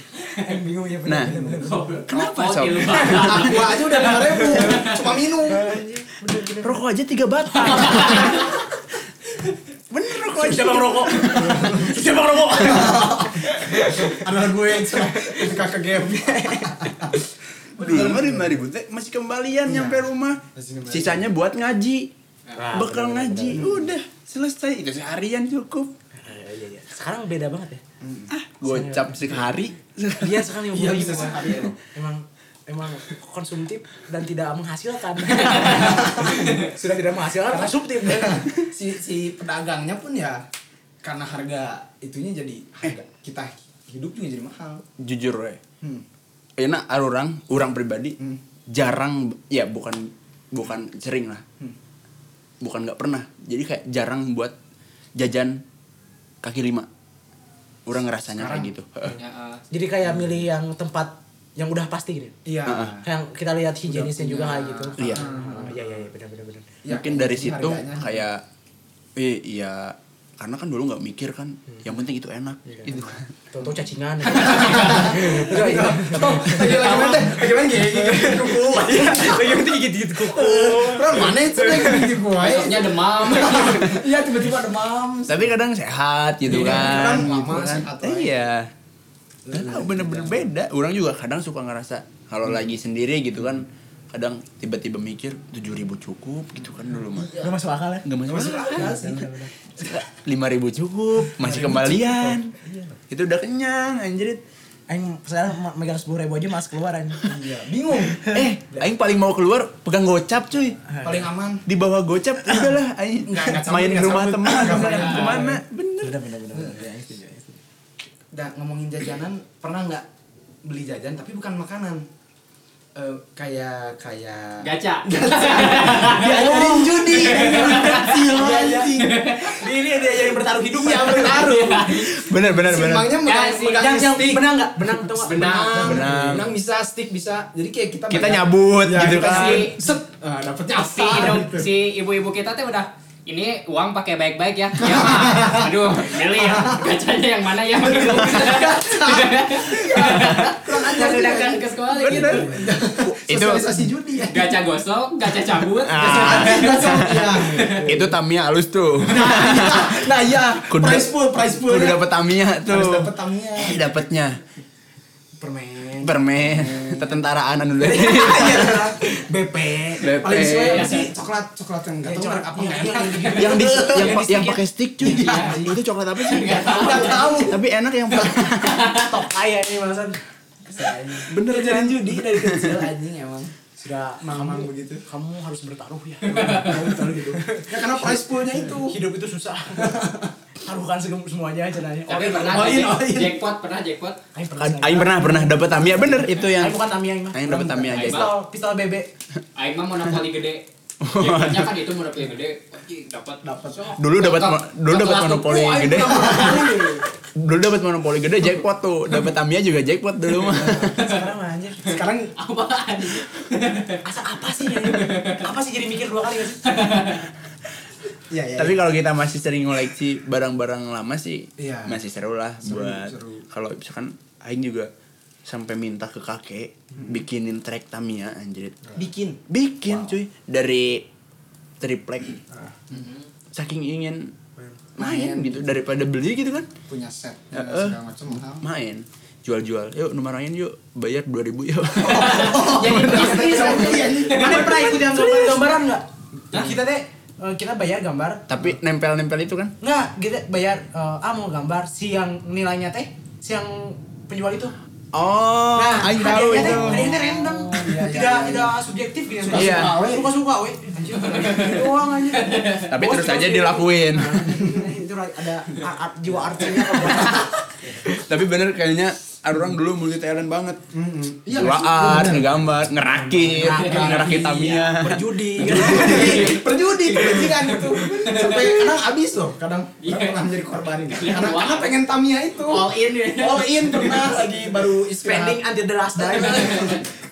Speaker 1: Aing bingung ya
Speaker 4: nah
Speaker 1: bener
Speaker 4: Kenapa,
Speaker 2: Rokok
Speaker 4: Sob?
Speaker 2: di luar.
Speaker 3: Aqua aja udah 5000 cuma minum.
Speaker 4: rokok aja tiga batang bener rokok aja
Speaker 1: siapa rokok siapa rokok
Speaker 3: Adalah gue yang cuma suka ke game.
Speaker 4: Dulu mah lima ribu teh eh, masih kembalian nyampe rumah.
Speaker 3: Masih kembalian.
Speaker 4: Sisanya buat ngaji.
Speaker 2: Nah,
Speaker 4: Bekal ngaji. Udah selesai. Itu seharian cukup.
Speaker 1: Iya,
Speaker 4: Ah,
Speaker 1: sekarang beda banget ya
Speaker 4: Hmm. Gocap sekali.
Speaker 1: dia sekarang yang
Speaker 3: Iya,
Speaker 1: buruk
Speaker 3: bisa
Speaker 1: gitu,
Speaker 3: sekali.
Speaker 1: Bang. emang emang konsumtif dan tidak menghasilkan sudah tidak menghasilkan konsumtif
Speaker 3: si si pedagangnya pun ya karena harga itunya jadi harga kita hidup juga jadi mahal. Hmm,
Speaker 4: Jujur ya. enak ah, orang orang pribadi jarang ya bukan bukan sering lah
Speaker 3: hmm.
Speaker 4: bukan nggak pernah jadi kayak jarang buat jajan kaki lima orang ngerasanya kayak gitu
Speaker 3: Iya.
Speaker 2: Ya, eh,
Speaker 1: Jadi kayak milih yang tempat yang udah pasti gitu.
Speaker 3: Iya.
Speaker 4: Heeh.
Speaker 1: Yang kita lihat higienisnya juga kayak gitu.
Speaker 4: Iya.
Speaker 1: Ah, Iya iya iya benar benar benar.
Speaker 3: Iya,
Speaker 4: mungkin
Speaker 3: kayak
Speaker 4: dari
Speaker 3: gini
Speaker 4: situ
Speaker 3: harganya.
Speaker 4: kayak eh iya karena kan dulu nggak mikir kan
Speaker 3: Hmm.
Speaker 4: yang penting itu enak
Speaker 3: Iya.
Speaker 4: itu
Speaker 1: Tonton cacingan.
Speaker 3: Enggak, iya. Oh, lagi lagi mana? teh? Lagi mana gigit gigit kuku.
Speaker 1: Yang
Speaker 4: ya,
Speaker 1: penting gigit-gigit kuku.
Speaker 3: Orang mana itu teh gigit kuku aja.
Speaker 2: besoknya demam
Speaker 3: Iya tiba-tiba demam.
Speaker 4: tapi kadang sehat gitu
Speaker 3: Iya,
Speaker 4: kan
Speaker 3: kadang
Speaker 4: gitu
Speaker 3: lama
Speaker 4: kan.
Speaker 3: sehat lah.
Speaker 4: iya Nggak tahu, bener-bener beda orang juga kadang suka ngerasa kalau
Speaker 3: Hmm.
Speaker 4: lagi sendiri gitu kan kadang tiba-tiba mikir tujuh ribu cukup gitu kan dulu mah
Speaker 1: Gak masuk akal ya?
Speaker 4: nggak masuk
Speaker 3: Iya. Masuk akal sih.
Speaker 4: lima ribu cukup masih kembalian itu udah kenyang anjrit
Speaker 1: Aing sekarang ma- megang sepuluh ribu aja mas keluar aing.
Speaker 3: Iya, bingung.
Speaker 4: eh aing paling mau keluar pegang gocap cuy
Speaker 3: Paling aman.
Speaker 4: di bawah gocap udahlah aing
Speaker 3: Nggak, nggak cabut,
Speaker 4: main ke
Speaker 3: nggak
Speaker 4: rumah
Speaker 3: cabut.
Speaker 4: teman
Speaker 3: Nggak
Speaker 4: misalnya
Speaker 3: cabut.
Speaker 4: kemana bener
Speaker 1: Benar benar benar. benar. Iya, setuju, iya, setuju.
Speaker 3: Udah ngomongin jajanan, pernah nggak beli jajan tapi bukan makanan? Eh, kayak kayak
Speaker 2: gacha
Speaker 1: Iya,
Speaker 3: diajarin judi kecil anjing
Speaker 1: Ini dia yang bertaruh hidup.
Speaker 3: iya bertaruh
Speaker 4: bener bener bener
Speaker 3: simpangnya
Speaker 2: Ya,
Speaker 3: megang
Speaker 2: sih.
Speaker 3: megang
Speaker 1: Yang yang
Speaker 3: stick
Speaker 1: benang nggak? Benang tau nggak?
Speaker 2: Benang.
Speaker 4: Benang.
Speaker 3: benang bisa stick bisa jadi kayak kita
Speaker 4: kita
Speaker 3: megang-
Speaker 4: nyabut
Speaker 3: Ya,
Speaker 4: gitu
Speaker 3: kita
Speaker 4: kan
Speaker 3: sih, set ah, dapetnya
Speaker 2: si
Speaker 3: apa
Speaker 2: hidung-
Speaker 3: gitu.
Speaker 2: si ibu-ibu kita teh udah ini uang pakai baik-baik ya. Ya, Ma. aduh, milih ya. Gacanya yang mana ya? Begitu.
Speaker 3: kurang ajar sih,
Speaker 2: Sudah kan
Speaker 3: anjing.
Speaker 2: ke sekolah gitu.
Speaker 4: bener itu
Speaker 3: sosialisasi judi ya
Speaker 2: Gaca gosok, gaca cabut.
Speaker 4: Ah.
Speaker 3: Iya.
Speaker 4: itu tamia halus tuh
Speaker 3: nah ya
Speaker 4: Kudu-
Speaker 3: price pool price pool
Speaker 4: udah
Speaker 3: ya.
Speaker 4: dapet tamia
Speaker 3: harus
Speaker 4: tuh
Speaker 3: dapet tamunya
Speaker 4: Eh, dapetnya
Speaker 1: Permen.
Speaker 4: permen ketentaraan anu dulu
Speaker 1: BP.
Speaker 4: BP
Speaker 3: paling sesuai apa
Speaker 2: Iya.
Speaker 3: sih coklat Iya, coklat Iya. yang nggak tahu merek apa nggak enak
Speaker 4: yang di Iya. yang pa- yang
Speaker 1: stick-nya.
Speaker 4: pakai stick cuy itu coklat apa sih
Speaker 3: nggak tahu
Speaker 4: tapi enak yang pakai
Speaker 1: Top kaya ini barusan.
Speaker 3: bener jalan judi Iya kan? dari kecil anjing emang
Speaker 1: Sudah
Speaker 3: mamang begitu
Speaker 1: kamu harus bertaruh ya.
Speaker 3: ya karena price poolnya itu
Speaker 1: gitu. Hidup itu susah. Taruhkan segem- semuanya caranya. All in,
Speaker 2: Tapi pernah
Speaker 1: all in, all in.
Speaker 2: jackpot, pernah jackpot.
Speaker 1: Aing pernah.
Speaker 4: Aing-
Speaker 1: saya.
Speaker 4: Kan, Aing pernah pernah dapat tamia bener itu yang
Speaker 1: Aing bukan Tamiya Aing mah.
Speaker 4: Aing dapat tamia aja
Speaker 2: Aing
Speaker 1: Pistol, pistol bebek.
Speaker 2: Aing mah monopoli gede. Jackpotnya kan itu monopoli gede. Anjing, Dapat
Speaker 1: Dapat.
Speaker 2: Sok.
Speaker 4: dulu dapat
Speaker 2: Sok.
Speaker 4: mo- dulu dapat
Speaker 2: Sok.
Speaker 4: monopoli
Speaker 2: Oh, Aing
Speaker 4: gede
Speaker 2: udah
Speaker 4: dulu dapat monopoli gede jackpot tuh dapat tamia juga jackpot dulu mah
Speaker 1: Sekarang mah anjir.
Speaker 3: sekarang
Speaker 2: Apaan?
Speaker 1: Asa apa sih ya? Apa sih jadi mikir dua kali gak sih?
Speaker 3: ya ya
Speaker 4: tapi kalau kita masih sering ngoleksi barang-barang lama sih
Speaker 3: Iya.
Speaker 4: masih seru lah
Speaker 3: Seru,
Speaker 4: buat
Speaker 3: seru.
Speaker 4: kalau misalkan Aing juga sampai minta ke kakek
Speaker 3: Hmm.
Speaker 4: bikinin track tamia
Speaker 3: Iya.
Speaker 4: anjir
Speaker 1: Bikin.
Speaker 4: bikin cuy dari triplek
Speaker 3: Ah.
Speaker 1: Mm-hmm.
Speaker 4: saking ingin main gitu daripada beli gitu kan
Speaker 3: punya set
Speaker 4: Ya,
Speaker 3: dan
Speaker 4: eh.
Speaker 3: segala macam mahal
Speaker 4: main jual-jual yuk nomor Aing yuk bayar 2000 yuk
Speaker 1: Jadi bisnis.
Speaker 3: Iya, iya.
Speaker 1: Mana pernah ikut yang gambaran enggak? Kita teh eh, kita bayar gambar
Speaker 4: tapi nempel-nempel itu kan
Speaker 1: Nggak, kita bayar eh, ah mau gambar si yang nilainya teh, si yang penjual itu. Nah,
Speaker 4: oh Aing tahu
Speaker 1: hadiahnya
Speaker 4: itu
Speaker 1: teh, hadiahnya random.
Speaker 3: iya, iya,
Speaker 1: tidak
Speaker 3: iya.
Speaker 1: tidak subjektif gitu.
Speaker 3: Suka-suka
Speaker 4: Iya.
Speaker 1: Suka-suka,
Speaker 3: we.
Speaker 1: we. Suka-suka we. Anjir. Doang anjir.
Speaker 4: tapi
Speaker 1: Bos,
Speaker 4: terus
Speaker 1: bos,
Speaker 4: aja
Speaker 1: gitu.
Speaker 4: dilakuin
Speaker 1: Nah, itu ada a- a- jiwa artinya kalau
Speaker 4: tapi bener kayaknya orang dulu multi talent banget
Speaker 3: Iya,
Speaker 4: Jual art, ngegambar, ngerakit,
Speaker 1: Ngerakit,
Speaker 4: ngerakit tamia
Speaker 1: berjudi.
Speaker 3: perjudi perjudingan itu sampai kadang habis loh kadang
Speaker 2: Iya.
Speaker 3: orang pernah menjadi korban gitu
Speaker 2: Iya.
Speaker 3: karena karena pengen tamia itu
Speaker 2: All in ya.
Speaker 3: all in pernah lagi baru
Speaker 1: Spending
Speaker 3: istirahat
Speaker 1: until the last dime.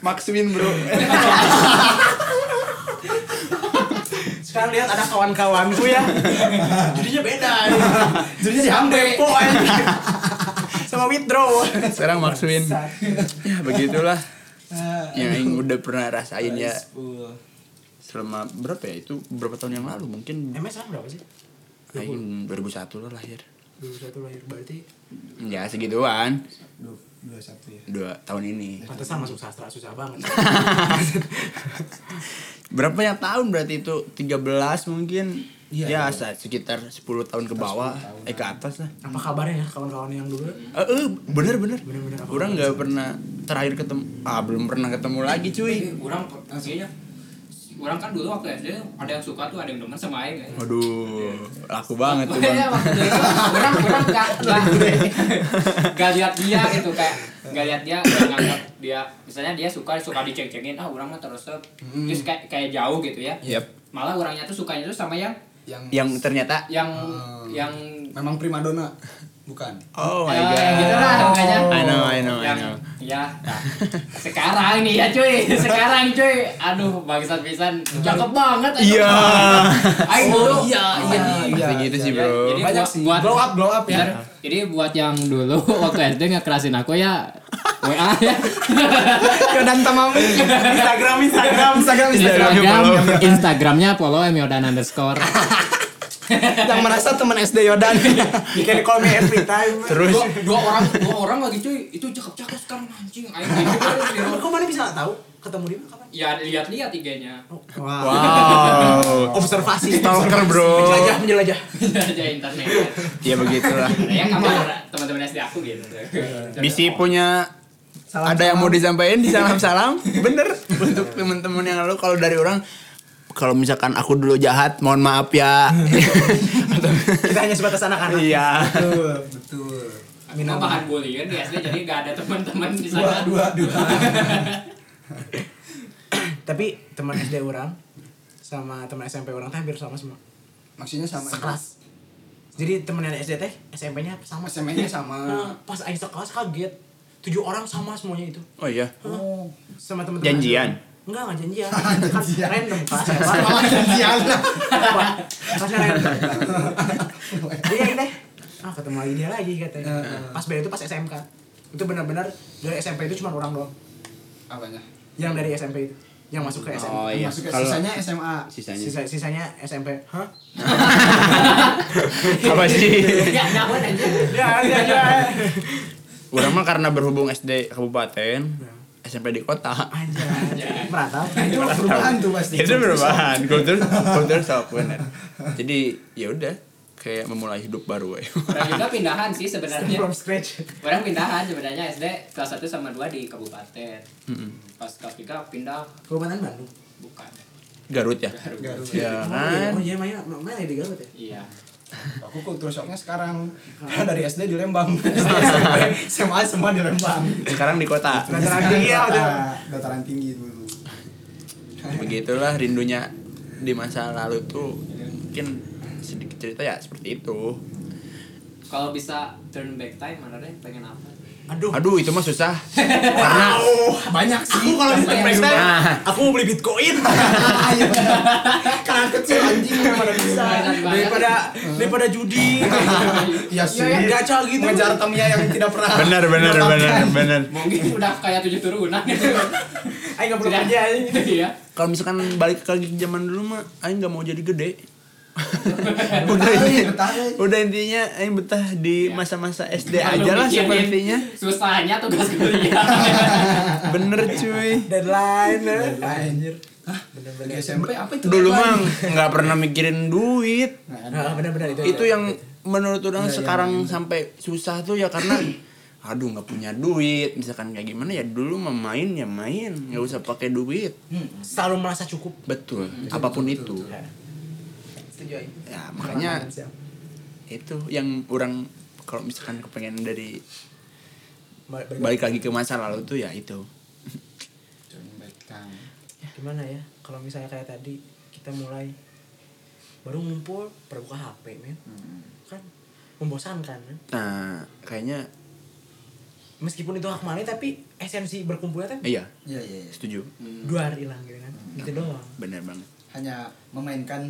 Speaker 4: Maxwin bro
Speaker 1: Sekarang lihat ada kawan-kawanku ya. Jadinya beda. ya.
Speaker 3: jadinya dihambe
Speaker 1: Depo anjir. Sama withdraw.
Speaker 4: Sekarang Maxwin Ya begitulah Ya, Yang Aing udah pernah rasain ya Selama berapa ya itu berapa tahun yang lalu mungkin
Speaker 1: MSN berapa sih? Nah,
Speaker 4: Aing 2001 lah lahir
Speaker 1: 21 lahir berarti
Speaker 4: Ya segituan
Speaker 3: dua satu ya
Speaker 4: Dua tahun ini
Speaker 1: pantesan masuk sastra susah banget.
Speaker 4: Berapa ya tahun berarti itu 13 mungkin
Speaker 3: Iya,
Speaker 4: Ya
Speaker 3: iya.
Speaker 4: sa- sekitar 10 tahun ke bawah Eh ke atas lah
Speaker 1: Apa kabarnya ya kawan-kawan yang dulu?
Speaker 4: Eh, eh, bener bener,
Speaker 1: Bener, bener, apa
Speaker 4: Orang
Speaker 2: Iya,
Speaker 4: nggak pernah terakhir ketemu, ah belum pernah ketemu lagi cuy.
Speaker 2: Orang kayaknya orang kan dulu waktu SD ada yang suka tuh ada yang demen sama aing ya.
Speaker 4: Waduh, laku banget tuh
Speaker 2: Iya,
Speaker 4: bang.
Speaker 2: waktu itu orang orang nggak nggak- nggak lihat dia gitu kayak nggak lihat dia nggak nganggap dia misalnya dia suka suka diceng-cengin ah orang mah terus terus kayak kayak jauh gitu ya
Speaker 4: Yep.
Speaker 2: malah orangnya tuh sukanya tuh sama yang
Speaker 3: yang
Speaker 4: Yang ternyata,
Speaker 2: yang
Speaker 3: Ah.
Speaker 2: yang
Speaker 3: memang primadona bukan
Speaker 4: oh my
Speaker 2: eh,
Speaker 4: god.
Speaker 2: gitu lah pokoknya.
Speaker 4: I know, I know, I
Speaker 2: yang
Speaker 4: know.
Speaker 2: ya nah, sekarang nih ya cuy sekarang cuy aduh bangsat pisan cakep banget aduh.
Speaker 4: Iya.
Speaker 2: Aing dulu iya
Speaker 3: iya, iya.
Speaker 4: Pasti gitu sih bro.
Speaker 2: Jadi
Speaker 3: banyak
Speaker 2: buat-
Speaker 3: sih
Speaker 2: buat- Iya.
Speaker 3: blow up blow up
Speaker 2: Biar-
Speaker 3: ya
Speaker 2: jadi buat yang dulu waktu SD ngekerasin aku ya WA ya.
Speaker 3: dan tamamu
Speaker 4: Instagram, Instagram, Instagram,
Speaker 2: Instagram, Instagramnya follow emiodan underscore.
Speaker 3: yang merasa teman SD Yodan
Speaker 1: You can call me every time.
Speaker 4: Terus,
Speaker 2: Dua, dua orang dua orang lagi cuy itu cakep cakep sekarang anjing aing gitu.
Speaker 1: Kok mana bisa tahu ketemu di mana kapan?
Speaker 2: ya lihat-lihat IG-nya
Speaker 1: Wah.
Speaker 4: wow.
Speaker 1: Observasi.
Speaker 3: Iya.
Speaker 4: Stalker bro.
Speaker 1: Menjelajah, menjelajah.
Speaker 2: aja internet
Speaker 4: Ya begitulah.
Speaker 2: Nah, ya kamar teman-teman SD aku gitu
Speaker 4: Bisi punya ada yang mau disampaikan di salam salam bener untuk teman-teman yang lalu kalau dari orang kalau misalkan aku dulu jahat mohon maaf ya
Speaker 1: Kita hanya sebatas anak-anak.
Speaker 4: iya
Speaker 3: betul betul
Speaker 2: aku mah bahan bulian di SD jadi gak ada teman-teman di
Speaker 3: dua
Speaker 2: sana
Speaker 3: dua dua
Speaker 1: Tapi teman SD orang sama teman SMP orang teh hampir sama semua.
Speaker 3: maksudnya sama ya?
Speaker 1: Sekelas. Jadi teman yang SD teh SMP-nya sama.
Speaker 3: SMA-nya sama
Speaker 1: Nah, pas aing sekelas kaget. Tujuh orang sama semuanya itu.
Speaker 4: oh iya
Speaker 3: oh
Speaker 1: Sama teman-teman.
Speaker 4: janjian
Speaker 1: Enggak, enggak janjian. Kan
Speaker 3: Janjian.
Speaker 1: random kelas.
Speaker 3: Oh,
Speaker 1: Wah,
Speaker 3: iya.
Speaker 1: Iya. wah, Kelasnya random. Jadi aing teh ah ketemu lagi dia lagi katanya.
Speaker 3: Heeh.
Speaker 1: Pas beda itu pas SMK. Itu benar-benar dari SMP itu cuma orang doang.
Speaker 3: apanya
Speaker 1: Yang dari SMP itu. Yang masuk ke SMP.
Speaker 4: oh iya
Speaker 3: masuk ke
Speaker 4: kalau
Speaker 3: sisanya SMA
Speaker 4: sisanya
Speaker 1: Sisa, sisanya SMP. Hah?
Speaker 4: apa sih
Speaker 2: ya nyaman aja
Speaker 1: Ya, ya, ya.
Speaker 4: orang mah karena berhubung SD kabupaten
Speaker 1: Ya.
Speaker 4: SMP di kota
Speaker 1: Anjay.
Speaker 2: Anjay.
Speaker 1: Merata.
Speaker 3: itu perubahan tuh pasti
Speaker 4: itu perubahan kultur kultur shock bener jadi ya udah kayak memulai hidup baru ya
Speaker 2: orang juga pindahan sih sebenarnya
Speaker 1: From scratch.
Speaker 2: orang pindahan sebenarnya SD kelas 1 sama 2 di kabupaten pas kelas 3 pindah
Speaker 1: Kabupaten Bandung.
Speaker 2: bukan
Speaker 4: Garut ya
Speaker 2: Garut.
Speaker 3: Garut.
Speaker 4: ya kan
Speaker 1: Oh iya, Maya, mana di Garut ya?
Speaker 2: iya
Speaker 3: aku kultur shocknya sekarang karena dari SD di Lembang SMP, SMA semua di Lembang
Speaker 4: sekarang di kota
Speaker 1: Dataran tinggi ya, udah.
Speaker 3: Data- dataran tinggi dulu
Speaker 4: begitulah rindunya di masa lalu tuh mungkin sedikit cerita ya seperti itu
Speaker 2: kalau bisa turn back time mana deh pengen apa
Speaker 1: Aduh.
Speaker 4: aduh itu mah susah
Speaker 1: Eh,
Speaker 4: karena
Speaker 3: banyak
Speaker 1: Aku kalau di
Speaker 2: Banyak.
Speaker 1: Stone
Speaker 4: Nah.
Speaker 1: aku mau beli Bitcoin.
Speaker 3: karena kecil anjing mana bisa
Speaker 1: daripada daripada judi.
Speaker 3: Iya sih.
Speaker 1: Ya, ya, gacha gitu.
Speaker 3: Ngejar temennya yang tidak pernah.
Speaker 4: benar benar
Speaker 3: mendapatkan.
Speaker 4: benar benar
Speaker 2: mungkin udah kayak tujuh turunan gitu
Speaker 1: Ayo enggak perlu kerja aing.
Speaker 2: iya
Speaker 4: kalau misalkan balik ke zaman dulu mah aing nggak mau jadi gede udah intinya,
Speaker 3: Betah, eh.
Speaker 4: udah intinya aing betah di
Speaker 2: Ya.
Speaker 4: masa-masa SD
Speaker 2: Kalau
Speaker 4: aja lah
Speaker 2: mikirin
Speaker 4: sepertinya
Speaker 2: susahnya tugas kuliah
Speaker 4: bener cuy
Speaker 1: Deadline. eh.
Speaker 3: Wah, Anjir. Hah? Bener-bener SMP apa itu?
Speaker 4: dulu mah nggak pernah mikirin duit
Speaker 1: Nah, benar-benar itu.
Speaker 4: itu yang menurut orang
Speaker 3: Iya, iya,
Speaker 4: sekarang sampai susah tuh ya karena aduh nggak punya duit misalkan kayak gimana ya dulu mah main ya main nggak usah pakai duit
Speaker 1: Hmm, selalu merasa cukup. Ya.
Speaker 4: betul apapun itu
Speaker 1: Setuju aing.
Speaker 4: ya makanya itu yang orang kalau misalkan kepengen dari balik lagi ke masa lalu tuh ya itu
Speaker 1: gimana ya kalau misalnya kayak tadi kita mulai baru ngumpul baru buka HP men
Speaker 4: Hmm.
Speaker 1: kan membosankan men.
Speaker 4: nah kayaknya
Speaker 1: meskipun itu hak mana tapi esensi berkumpulnya kan
Speaker 4: iya
Speaker 3: Iya, iya, iya.
Speaker 4: setuju
Speaker 1: dua hari hilang gitu kan
Speaker 4: Hmm.
Speaker 1: gitu doang
Speaker 4: benar banget
Speaker 3: Hanya memainkan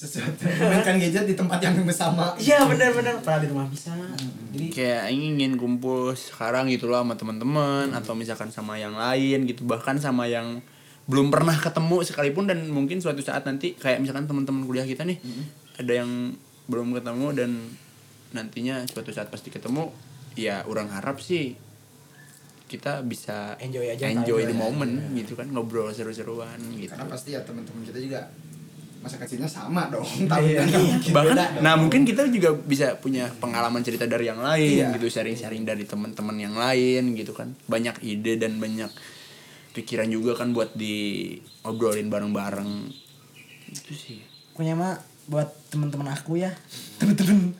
Speaker 3: sesuatu. Memainkan gadget di tempat yang bersama.
Speaker 1: iya benar-benar pernah di rumah bisa
Speaker 4: Hmm,
Speaker 1: jadi
Speaker 4: kayak ingin kumpul sekarang gitulah sama
Speaker 1: Hmm.
Speaker 4: teman-teman atau misalkan sama yang lain gitu bahkan sama yang belum pernah ketemu sekalipun dan mungkin suatu saat nanti kayak misalkan teman-teman kuliah kita nih
Speaker 1: Hmm.
Speaker 4: ada yang belum ketemu dan nantinya suatu saat pasti ketemu ya orang harap sih kita bisa
Speaker 1: Enjoy aja, Iya.
Speaker 4: enjoy the
Speaker 1: enjoy.
Speaker 4: moment gitu kan ngobrol seru-seruan gitu
Speaker 3: Karena pasti ya teman-teman kita juga masa kecilnya sama dong. Tapi kan mungkin
Speaker 4: bahkan
Speaker 3: beda dong.
Speaker 4: nah mungkin kita juga bisa punya pengalaman cerita dari yang lain
Speaker 3: Iya.
Speaker 4: gitu sharing-sharing dari teman-teman yang lain gitu kan banyak ide dan banyak pikiran juga kan buat diobrolin bareng-bareng itu Gitu sih
Speaker 1: Pokoknya mah buat teman-teman aku ya. Teman-teman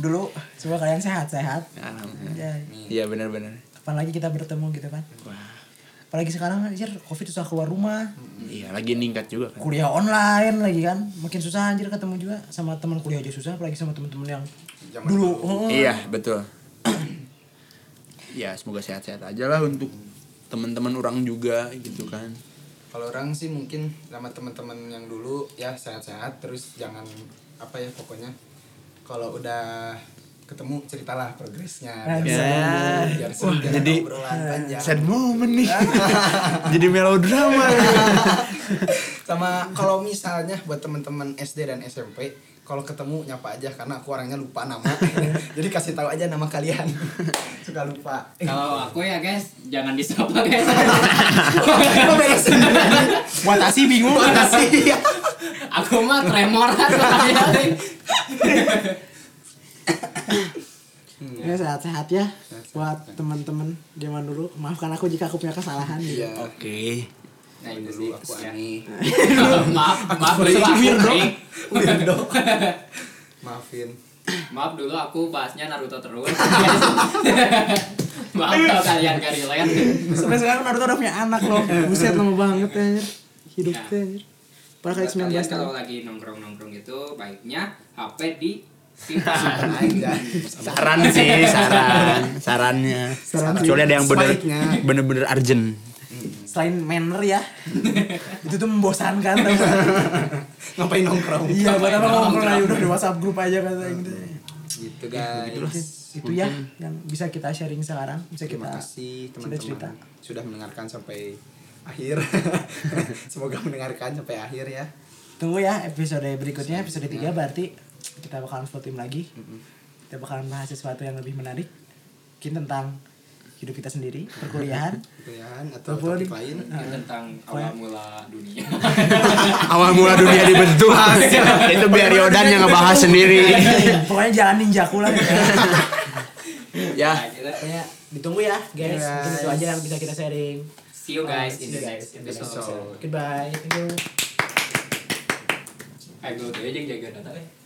Speaker 1: dulu semoga kalian sehat-sehat.
Speaker 4: alhamdulillah
Speaker 1: Ya,
Speaker 4: iya benar-benar
Speaker 1: kapan lagi kita bertemu gitu kan. Apalagi sekarang anjir Covid susah keluar rumah.
Speaker 4: iya lagi ningkat juga kan
Speaker 1: Kuliah online lagi kan. Makin susah anjir ketemu juga sama teman kuliah aja susah apalagi sama teman-teman yang dulu. Oh,
Speaker 4: iya betul ya semoga sehat-sehat aja lah untuk teman-teman orang juga gitu kan
Speaker 3: kalau orang sih mungkin sama teman-teman yang dulu ya sehat-sehat terus jangan apa ya pokoknya kalau udah ketemu ceritalah progresnya biar
Speaker 1: Ya.
Speaker 3: seru, biar seru,
Speaker 4: Wah,
Speaker 3: jangan
Speaker 4: jadi-
Speaker 3: obrolan panjang
Speaker 4: sad moment nih jadi melodrama
Speaker 3: sama kalau misalnya buat teman-teman SD dan SMP kalau ketemu nyapa aja karena aku orangnya lupa nama jadi kasih tahu aja nama kalian suka lupa
Speaker 2: Kalau aku ya guys, jangan disapa guys.
Speaker 5: Watasi bingung.
Speaker 3: Makasih.
Speaker 2: aku mah tremor hati-hati.
Speaker 1: Ya sehat-sehat ya buat teman-teman zaman dulu. Maafkan aku jika aku punya kesalahan gitu.
Speaker 3: iya
Speaker 4: oke
Speaker 2: Nah, itu
Speaker 3: dulu
Speaker 2: sih.
Speaker 3: aku
Speaker 2: Ya.
Speaker 3: aneh
Speaker 2: maaf, maaf dulu aku break.
Speaker 3: maafin
Speaker 2: Maaf dulu aku bahasnya Naruto terus. maaf kalau kalian gak
Speaker 1: Iya,
Speaker 2: relate.
Speaker 1: Sampai sekarang Naruto udah punya anak loh. Buset lama banget anjir. Hidupnya
Speaker 2: Ya.
Speaker 1: anjir. Padahal
Speaker 2: Buat
Speaker 1: kayak 19
Speaker 2: kalian
Speaker 1: tahun.
Speaker 2: kalau lagi nongkrong-nongkrong gitu, baiknya HP di simpan
Speaker 3: aja
Speaker 4: saran sih saran sarannya
Speaker 1: Saran sih.
Speaker 4: kecuali ada yang bener
Speaker 3: Sebaiknya.
Speaker 4: bener-bener urgent
Speaker 1: Selain manner ya. itu tuh membosankan tau gak?
Speaker 3: ngapain nongkrong
Speaker 1: Iya, buat apa ngomong
Speaker 2: Nongkrong.
Speaker 1: aja udah di WhatsApp grup aja kata gitu.
Speaker 3: gitu guys
Speaker 1: Itu ya yang bisa kita sharing sekarang, bisa kita
Speaker 3: Terima kasih
Speaker 1: cerita.
Speaker 3: teman-teman sudah mendengarkan sampai akhir. Semoga mendengarkan sampai akhir ya.
Speaker 1: Tunggu ya episode berikutnya, episode 3 berarti kita bakalan full team lagi. Kita bakalan bahas sesuatu yang lebih menarik. Mungkin tentang hidup kita sendiri, perkuliahan.
Speaker 3: Gitu ya, atau
Speaker 1: Telepon.
Speaker 3: topik lain.
Speaker 2: Gitu, tentang
Speaker 1: Nah.
Speaker 2: awal mula dunia.
Speaker 4: awal mula dunia dibentuk itu biar Yodan yang ngebahas sendiri
Speaker 1: Pokoknya jalan ninjaku lah. gitu.
Speaker 2: Nah,
Speaker 4: ya
Speaker 2: kita-
Speaker 1: Pokoknya ditunggu ya guys.
Speaker 3: Guys.
Speaker 1: Mungkin itu aja yang bisa kita sharing.
Speaker 2: See you guys
Speaker 1: See
Speaker 2: in the
Speaker 1: you
Speaker 2: next
Speaker 1: guys in the next
Speaker 2: episode.
Speaker 3: episode.
Speaker 1: Goodbye. Thank you.
Speaker 2: Eh, gue tuh aja yang jaga data eh.